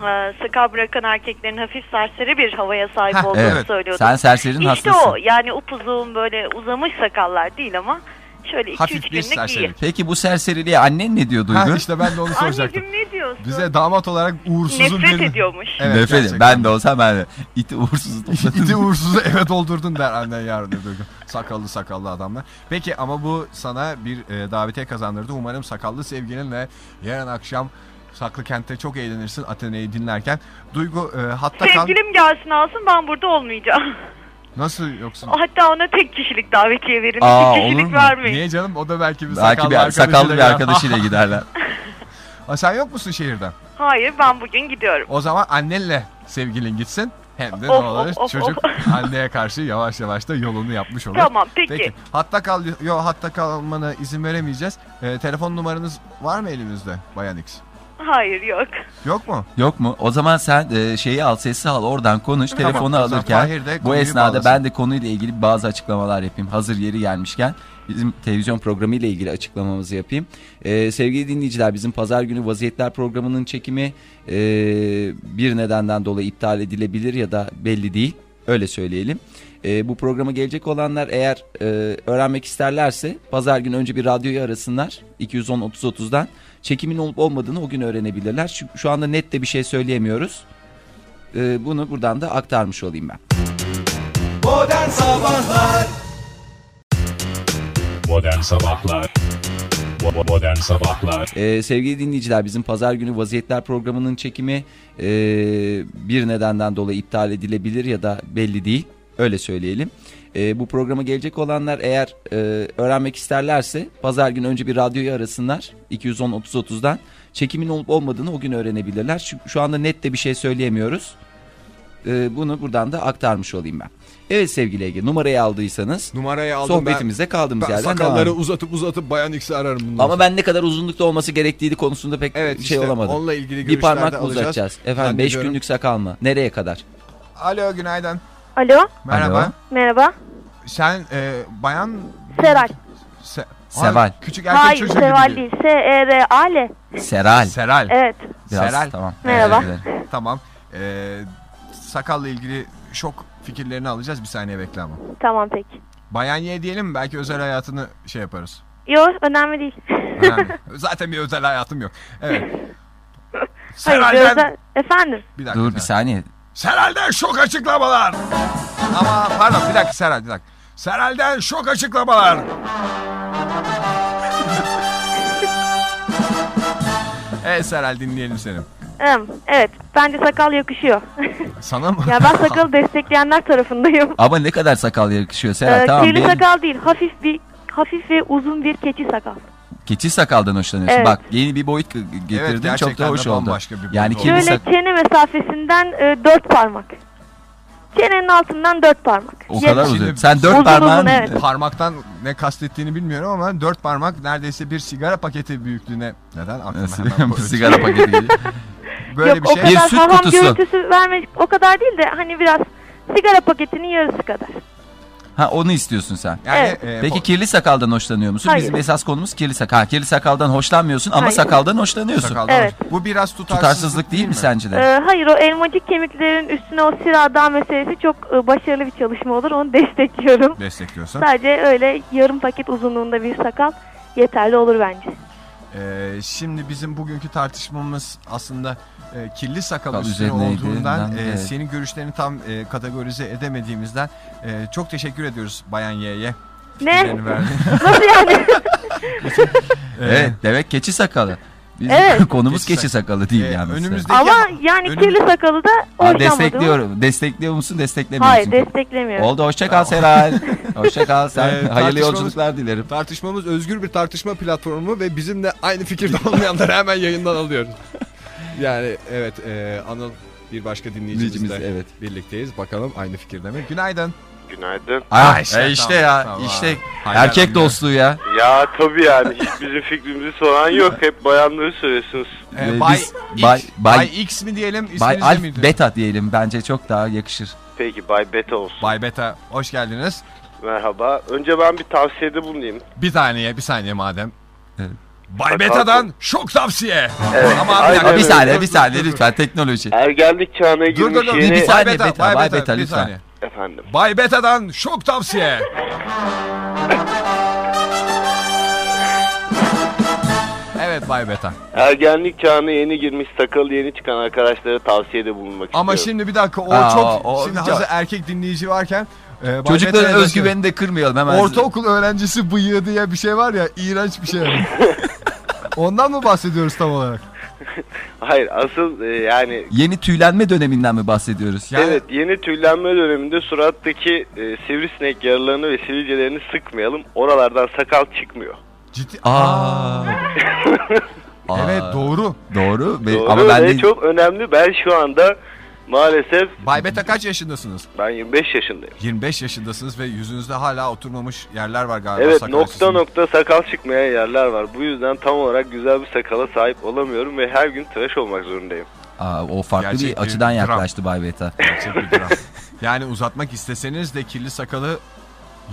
e, sakal bırakan erkeklerin hafif serseri bir havaya sahip
Hah,
olduğunu
evet.
söylüyordunuz.
Sen serserinin
İşte
hastasın.
o yani upuzun böyle uzamış sakallar değil ama şöyle 2-3
Hafif bir
günlük iyi.
serserilik.
Peki bu serseriliğe annen ne diyor Duygu?
Ha, işte ben de onu soracaktım.
Anneciğim ne diyorsun?
Bize damat olarak uğursuzun
Nefret
birini-
ediyormuş.
Evet,
Nefret ederim.
gerçekten.
Ben de olsam ben de. İti uğursuzu toplatırım.
İti uğursuzu evet oldurdun der annen yarın öbür gün. Sakallı sakallı adamlar. Peki ama bu sana bir e, davetiye kazandırdı. Umarım sakallı sevgilinle yarın akşam Saklı Kent'te çok eğlenirsin Atene'yi dinlerken. Duygu e, hatta kal...
Sevgilim gelsin alsın ben burada olmayacağım.
Nasıl yoksun?
Hatta ona tek kişilik davetiye verin.
Aa,
iki
olur
kişilik
mu?
vermeyin.
Niye canım? O da belki bir
Belki
sakallı
bir sakallı bir
gider.
arkadaşıyla giderler.
Aa, sen yok musun şehirden?
Hayır ben bugün gidiyorum.
O zaman annenle sevgilin gitsin. Hem de ne
Of,
olur
of, of,
çocuk anneye karşı yavaş yavaş da yolunu yapmış olur.
Tamam, peki.
Hatta kal yo hatta kalmana izin veremeyeceğiz. Ee, telefon numaranız var mı elimizde Bayan X?
Hayır yok.
Yok mu?
Yok mu? O zaman sen e, şeyi al, sesi al, oradan konuş.
Tamam,
telefonu
o zaman
alırken
Fahir de
bu
konuyu
esnada
bağlasın.
ben de konuyla ilgili bazı açıklamalar yapayım. Hazır yeri gelmişken. bizim televizyon programı ile ilgili açıklamamızı yapayım. Ee, sevgili dinleyiciler bizim pazar günü vaziyetler programının çekimi e, bir nedenden dolayı iptal edilebilir ya da belli değil. Öyle söyleyelim. Ee, bu programa gelecek olanlar eğer e, öğrenmek isterlerse pazar günü önce bir radyoyu arasınlar 210-30-30'dan. Çekimin olup olmadığını o gün öğrenebilirler. Şu, şu anda net de bir şey söyleyemiyoruz. Ee, bunu buradan da aktarmış olayım ben.
Modern Sabahlar
Modern Sabahlar Bo- Modern Sabahlar
Ee, sevgili dinleyiciler bizim pazar günü vaziyetler programının çekimi e, bir nedenden dolayı iptal edilebilir ya da belli değil. Öyle söyleyelim. Ee, bu programa gelecek olanlar eğer e, öğrenmek isterlerse pazar günü önce bir radyoyu arasınlar 210-30-30'dan. Çekimin olup olmadığını o gün öğrenebilirler. Şu, şu anda net de bir şey söyleyemiyoruz. Ee, bunu buradan da aktarmış olayım ben. Evet sevgili Ege numarayı aldıysanız
Numarayı aldım
sohbetimize
ben,
kaldığımız
ben
yerden
sakalları
devam.
uzatıp uzatıp Bayan X'i ararım bundan
Ama ben ne kadar uzunlukta olması gerektiği konusunda pek şey
işte
olamadım.
onunla ilgili
bir
görüşlerde
parmak mı
alacağız.
uzatacağız?
Ben
Efendim 5
biliyorum.
günlük sakal mı? Nereye kadar?
Alo günaydın.
Alo.
Merhaba.
Alo.
Merhaba.
Sen e, bayan...
Seral.
Se-
Seval.
Ay, Küçük erkek
Hayır
çocuğu
Seval
gibi.
değil. E S-E-R-A-L.
Seral.
Seral.
Evet.
Biraz,
Seral.
tamam.
Merhaba.
Ee, tamam. E, sakalla ilgili şok fikirlerini alacağız. Bir saniye bekle ama.
Tamam peki.
Bayan Y diyelim mi? Belki özel hayatını şey yaparız.
Yo önemli değil.
Önemli. Zaten bir özel hayatım yok. Evet.
Hayır
Seral'den-
özel- Efendim.
Bir dakika.
Dur bir saniye.
Seral'den şok açıklamalar. Ama pardon bir dakika Seral bir dakika. Seral'den şok açıklamalar. evet Seral dinleyelim seni.
Em, Evet. Bence sakal yakışıyor.
Sana mı?
ya ben sakalı destekleyenler tarafındayım.
Ama ne kadar sakal yakışıyor Serhat
Ee,
tamam.
kirli
benim-
sakal değil. Hafif bir hafif ve uzun bir keçi sakal.
Keçi sakaldan hoşlanıyorsun.
Evet.
Bak yeni bir boyut g- getirdin çok da
gerçekten
hoş
de
oldu.
bambaşka bir boyut
Yani Hani kirli
Şöyle
sakal
çene mesafesinden e, dört parmak. Çenenin altından dört parmak.
o kadar
Şimdi-
uzun. Sen dört parmağın
Parmaktan ne kastettiğini bilmiyorum ama dört parmak neredeyse bir sigara paketi büyüklüğüne. Neden? Aklıma
Nasıl?
hemen bu-
Sigara paketi geliyor.
Böyle
Yok
bir
o
şey.
kadar sağlam görüntüsü vermek o kadar değil de hani biraz sigara paketinin yarısı kadar.
Ha onu istiyorsun sen.
Yani, Evet.
e,
Peki kirli sakaldan hoşlanıyor musun?
Hayır.
Bizim esas konumuz kirli sakal. Ha, kirli sakaldan hoşlanmıyorsun ama
Hayır.
sakaldan hoşlanıyorsun.
Sakaldan Evet.
Bu biraz
tutarsızlık, değil mi sence de?
Ee, hayır o elmacık kemiklerin üstüne o sirada meselesi çok e, başarılı bir çalışma olur. Onu destekliyorum.
Destekliyorsun.
Sadece öyle yarım paket uzunluğunda bir sakal yeterli olur bence.
Ee, şimdi bizim bugünkü tartışmamız aslında e, kirli sakal
Sakal
üstüne
üzerineydi,
olduğundan,
ben-
e,
evet.
senin görüşlerini tam e, kategorize edemediğimizden e, çok teşekkür ediyoruz Bayan Y'ye.
Ne?
Fikirlerini verdi.
Nasıl yani?
Evet demek keçi sakalı. Bizim
Evet.
konumuz keçi, sakalı değil yani.
önümüzdeki-
Ama yani kirli sakalı da
Ha,
hoşlanmadım.
destekliyorum. Destekliyor musun desteklemiyor
Hayır
musun?
desteklemiyorum.
Oldu hoşça kal Seral. hoşça kal sen.
Ee,
Hayırlı
tartışmamız-
yolculuklar dilerim.
Tartışmamız özgür bir tartışma platformu ve bizimle aynı fikirde olmayanları hemen yayından alıyoruz. Yani evet e, Anıl bir başka dinleyicimizle evet. birlikteyiz. Bakalım aynı fikirde mi? Günaydın.
Günaydın.
Ha,
e,
e, işte, ya işte erkek dostluğu ya.
Ya tabii yani hiç bizim fikrimizi soran yok. Hep bayanları söylüyorsunuz.
Ee, biz- Bay, Bay-
X mi diyelim?
Bay
isminiz de
Alf
miydi?
Beta diyelim bence çok daha yakışır.
Peki Bay Beta olsun.
Bay Beta hoş geldiniz.
Merhaba. Önce ben bir tavsiyede bulunayım.
Bir saniye, bir saniye madem. Bay
Sakal-
Beta'dan şok tavsiye.
Evet,
Ama
aynen
bir dakika,
öyle.
bir saniye bir
dur,
saniye
dur, dur.
lütfen teknoloji.
Ergenlik Er çağına girmiş
dur, dur,
yeni...
bir saniye, Bay Beta, Beta, Bay Bay Beta, Beta, bir lütfen. saniye.
Efendim.
Bay Beta'dan şok tavsiye. evet Bay Beta.
Ergenlik çağına yeni girmiş sakalı yeni çıkan arkadaşlara tavsiyede bulunmak istiyorum.
Ama şimdi bir dakika o
Aa,
çok
o-
şimdi
o-
hazır erkek dinleyici varken e, Bay
Çocukların
Beta'ya da
özgüvenini de şey kırmayalım hemen.
Ortaokul öğrencisi bıyığı diye bir şey var ya iğrenç bir şey. Ondan mı bahsediyoruz tam olarak?
Hayır asıl e, yani
Yeni tüylenme döneminden mi bahsediyoruz?
Evet yeni tüylenme döneminde surattaki e, sivrisinek yaralarını ve sivilcelerini sıkmayalım. Oralardan sakal çıkmıyor.
Aa.
evet doğru.
Doğru. Ve-
Doğru
Ee, Ama ben
ve
de
çok önemli. Ben şu anda maalesef
Bay Beta kaç yaşındasınız?
ben 25 yaşındayım.
25 yaşındasınız ve yüzünüzde hala oturmamış yerler var galiba.
evet
sakal
nokta
açısından.
nokta sakal çıkmayan yerler var. Bu yüzden tam olarak güzel bir sakala sahip olamıyorum ve her gün tıraş olmak zorundayım.
Aa, o farklı
Gerçek
bir
bir
açıdan
dram.
yaklaştı Bay Beta.
Gerçek bir dram. yani uzatmak isteseniz de kirli sakalı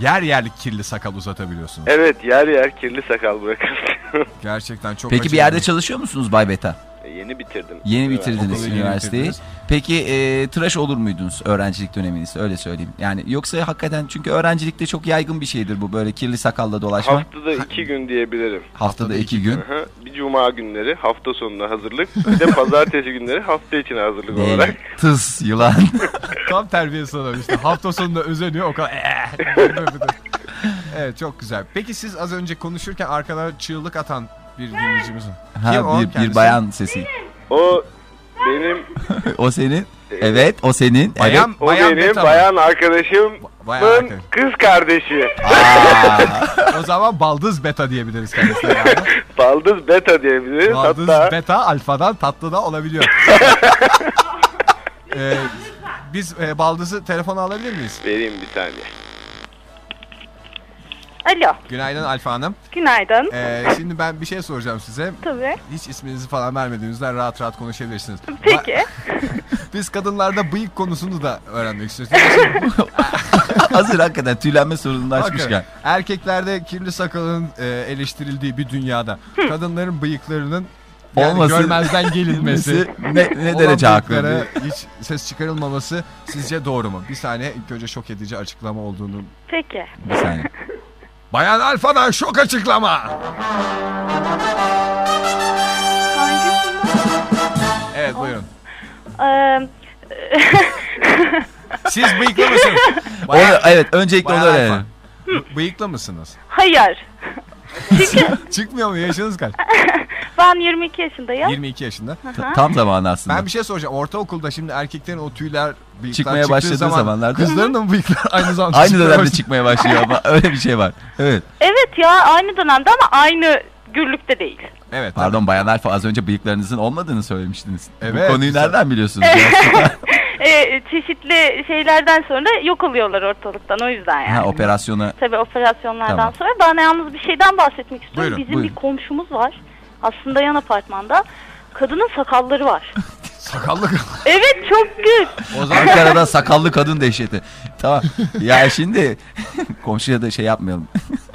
Yer yerlik kirli sakal uzatabiliyorsunuz.
Evet yer yer kirli sakal bırakabiliyorum.
Gerçekten çok
Peki bir yerde çalışıyor musunuz Bay Beta?
E, Yeni bitirdim.
Yeni
Evet.
bitirdiniz
Okulu yeni
üniversiteyi.
bitirdiniz.
Peki e, tıraş olur muydunuz öğrencilik döneminizde öyle söyleyeyim. Yani yoksa hakikaten çünkü öğrencilikte çok yaygın bir şeydir bu böyle kirli sakalla dolaşma. Haftada,
Haftada iki gün diyebilirim.
iki gün.
Aha, bir cuma günleri hafta sonuna hazırlık. Bir de pazartesi günleri hafta için hazırlık olarak.
Tıs yılan.
Tam terbiyesiz adam işte. Hafta sonunda özeniyor o kadar. "Eh!" evet çok güzel. Peki siz az önce konuşurken arkadan çığlık atan bir dinleyicimiz var.
Ha,
Kim o?
bir, bir
Kendisi?
bayan sesi.
O benim
o senin. Evet o senin.
Bayan,
evet.
o benim bayan arkadaşımın
Bayan arkadaş.
kız kardeşi.
o zaman baldız beta diyebiliriz kendisine. yani.
Baldız beta diyebiliriz.
Baldız
Hatta
beta alfadan tatlı da olabiliyor. Ee, biz e, baldızı telefona alabilir miyiz?
Vereyim bir saniye.
Alo.
Günaydın Alfa Hanım.
Günaydın.
Ee, şimdi ben bir şey soracağım size.
Tabii.
Hiç isminizi falan vermediğinizden rahat rahat konuşabilirsiniz.
Peki.
Biz kadınlarda bıyık konusunu da öğrenmek istiyoruz.
Hazır hakikaten tüylenme sorununu açmışken.
Bakın, erkeklerde kirli sakalın e, eleştirildiği bir dünyada kadınların bıyıklarının yani
Olması-
görmezden gelinmesi
Ne- ne derece
olan
haklı?
bıyıklara Hiç ses çıkarılmaması sizce doğru mu? Bir saniye ilk önce şok edici açıklama olduğunu
Peki.
bir saniye.
Bayan Alfa'dan şok açıklama. Evet buyurun.
Eee,
Siz bıyıklı mısınız?
Onu- evet öncelikle onu
Bayan
öğrenelim.
Alfa, bı- bıyıklı mısınız?
Hayır.
Çıkmıyor mu? Yaşınız kaç?
Ben 22 yaşındayım.
22 yaşında.
Ta- tam
zamanı aslında.
Ben bir şey soracağım. Ortaokulda şimdi erkeklerin o tüyler bıyıklar
Çıkmaya
çıktığı
başladığı
zaman,
zamanlarda-
Kızların da mı bıyıklar aynı zamanda
Aynı
çıkmaya
dönemde
başladı?
çıkmaya başlıyor ama öyle bir şey var. Evet.
Evet ya aynı dönemde ama aynı gürlükte değil.
Evet.
Pardon Bayan Alfa az önce bıyıklarınızın olmadığını söylemiştiniz.
Evet,
Bu konuyu
güzel.
nereden biliyorsunuz?
Eee, Ee, çeşitli şeylerden sonra yok oluyorlar ortalıktan o yüzden yani.
ha, operasyona
Tabii operasyonlardan
Tamam.
sonra. Ben yalnız bir şeyden bahsetmek istiyorum.
Buyurun,
Bizim
buyurun.
bir komşumuz var. Aslında yan apartmanda. Kadının sakalları var.
Sakallı
evet çok gül.
Ankara'da sakallı kadın dehşeti. Tamam. Ya şimdi komşuya da şey yapmayalım.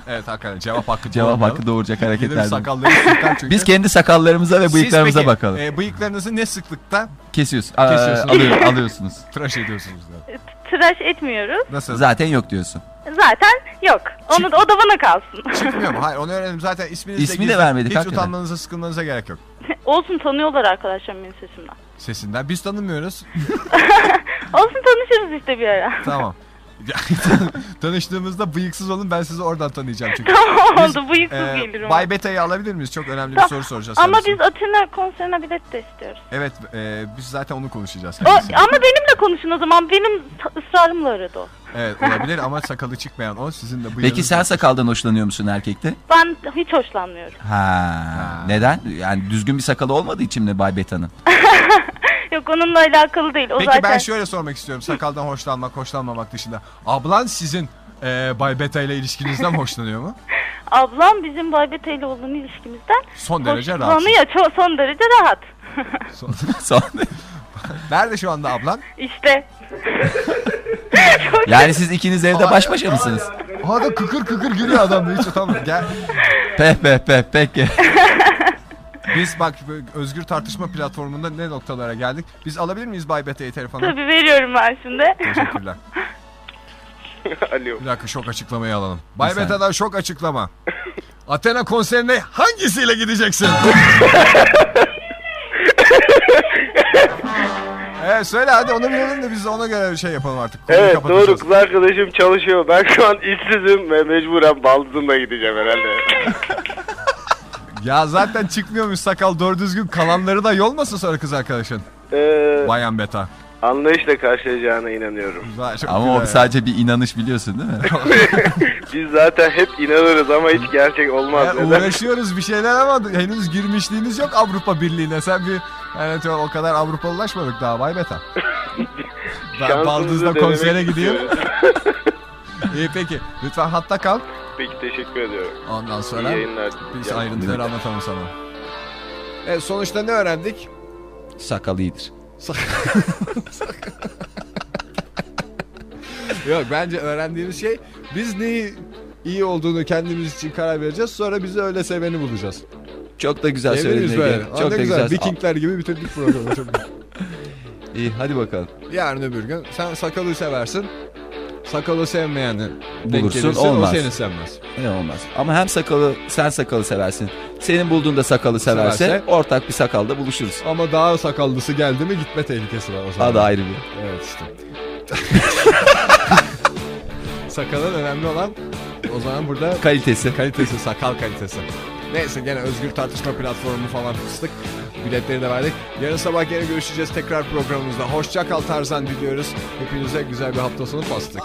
Evet hakikaten cevap hakkı
Cevap
doğurmayalım.
hakkı doğuracak hareketler.
Gidelim sakalları sürten çünkü.
Biz kendi sakallarımıza ve bıyıklarımıza
Siz peki,
bakalım.
E, bıyıklarınızı ne sıklıkta
Kesiyorsun. Aa,
Kesiyorsunuz.
alıyor- alıyorsunuz.
tıraş ediyorsunuz? da?
Tıraş etmiyoruz.
Zaten yok diyorsun.
Zaten yok. Onu, o da bana kalsın.
Çıkmıyor mu? Hayır onu öğrenelim. Zaten isminizi
İsmi de
gizli.
vermedik
Hiç
hakikaten.
utanmanıza sıkılmanıza gerek yok.
Olsun tanıyorlar arkadaşlarım benim sesimden.
Sesinden. Biz tanımıyoruz.
Olsun tanışırız işte bir ara.
tamam. Tanıştığımızda bıyıksız olun ben sizi oradan tanıyacağım çünkü. e,
Tamam, oldu, bıyıksız gelirim.
Bay Beta'yı alabilir miyiz? Çok önemli bir
Ta-
soru soracağız.
Ama
kendisine.
biz Atina konserine bilet de istiyoruz.
Evet e, biz zaten onu konuşacağız.
O,
kendisiyle.
ama benimle konuşun o zaman. Benim ta- ısrarımla aradı o.
Evet olabilir ama sakalı çıkmayan o sizin de bıyığınız.
Peki sen sakaldan hoşlanıyor musun erkekte?
Ben hiç hoşlanmıyorum.
Ha. Neden? Yani düzgün bir sakalı olmadığı için mi Bay Beta'nın?
Yok onunla alakalı değil. O
Peki
zaten...
ben şöyle sormak istiyorum sakaldan hoşlanmak hoşlanmamak dışında. Ablan sizin e, Bay Beta ile ilişkinizden hoşlanıyor mu?
Ablam bizim Baybet ile olan ilişkimizden
Son derece rahat.
hoşlanıyor. Çok, son derece rahat.
Nerede şu anda ablan?
İşte.
Yani siz ikiniz evde baş başa mısınız?
Aha da kıkır kıkır gülüyor adam da hiç utanmıyor. Gel.
Peh peh peh peki.
Biz bak böyle özgür tartışma platformunda ne noktalara geldik. Biz alabilir miyiz Bay Beta'yı telefona?
Tabii veriyorum ben şimdi.
Teşekkürler.
Alo.
Bir dakika şok açıklamayı alalım. Bay
Bir saniye.
Beta'dan şok açıklama. Athena konserine hangisiyle gideceksin? evet Ee, söyle hadi onu bilelim de biz de ona göre bir şey yapalım artık. Konuyu
Evet
kapatacağız.
doğru kız arkadaşım çalışıyor. Ben şu an işsizim ve mecburen baldızımla gideceğim herhalde.
Ya zaten çıkmıyormuş sakal doğru düzgün kalanları da yolmasın sonra kız arkadaşın.
Ee,
Bayan Beta.
anlayışla karşılayacağına inanıyorum.
Ama o sadece bir inanış biliyorsun değil mi?
Biz zaten hep inanırız ama hiç gerçek olmaz.
Ya
Neden?
uğraşıyoruz bir şeyler ama henüz girmişliğimiz yok Avrupa Birliği'ne. Sen bir evet o kadar Avrupalılaşmadık daha Bay Beta. ben
Şansımızı
Baldız'la
denemek
konsere gideyim.
istiyoruz.
İyi peki. Lütfen hatta kal.
Peki teşekkür ediyorum.
Ondan sonra
İyi yayınlar.
biz
Yani-
ayrıntıları anlatalım sana. Evet E, sonuçta ne öğrendik?
Sakal iyidir.
Yok bence öğrendiğimiz şey biz neyi iyi olduğunu kendimiz için karar vereceğiz. Sonra bizi öyle seveni bulacağız.
Çok da güzel
Diyebiliriz
söyledin
böyle.
Ege.
Aa,
Çok
ne
da
güzel.
güzel.
Vikingler gibi bitirdik programı. Çok güzel.
İyi hadi bakalım.
Yarın öbür gün sen sakalı seversin. Sakalı sevmeyeni denk
Bulursun
gelirsin,
olmaz.
O seni sevmez.
Ne olmaz. Ama hem sakalı sen sakalı seversin. Senin bulduğunda sakalı severse,
Severse.
ortak bir sakalda buluşuruz.
Ama daha sakallısı geldi mi gitme tehlikesi var o zaman.
Adı ayrı bir.
Evet işte. Sakalın önemli olan o zaman burada
kalitesi.
Kalitesi, sakal kalitesi. Neyse gene özgür tartışma platformu falan fıstık. Biletleri de verdik. Yarın sabah gene görüşeceğiz tekrar programımızda. Hoşça kal Tarzan diliyoruz. Hepinize güzel bir hafta sonu fastık.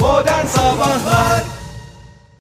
Modern Sabahlar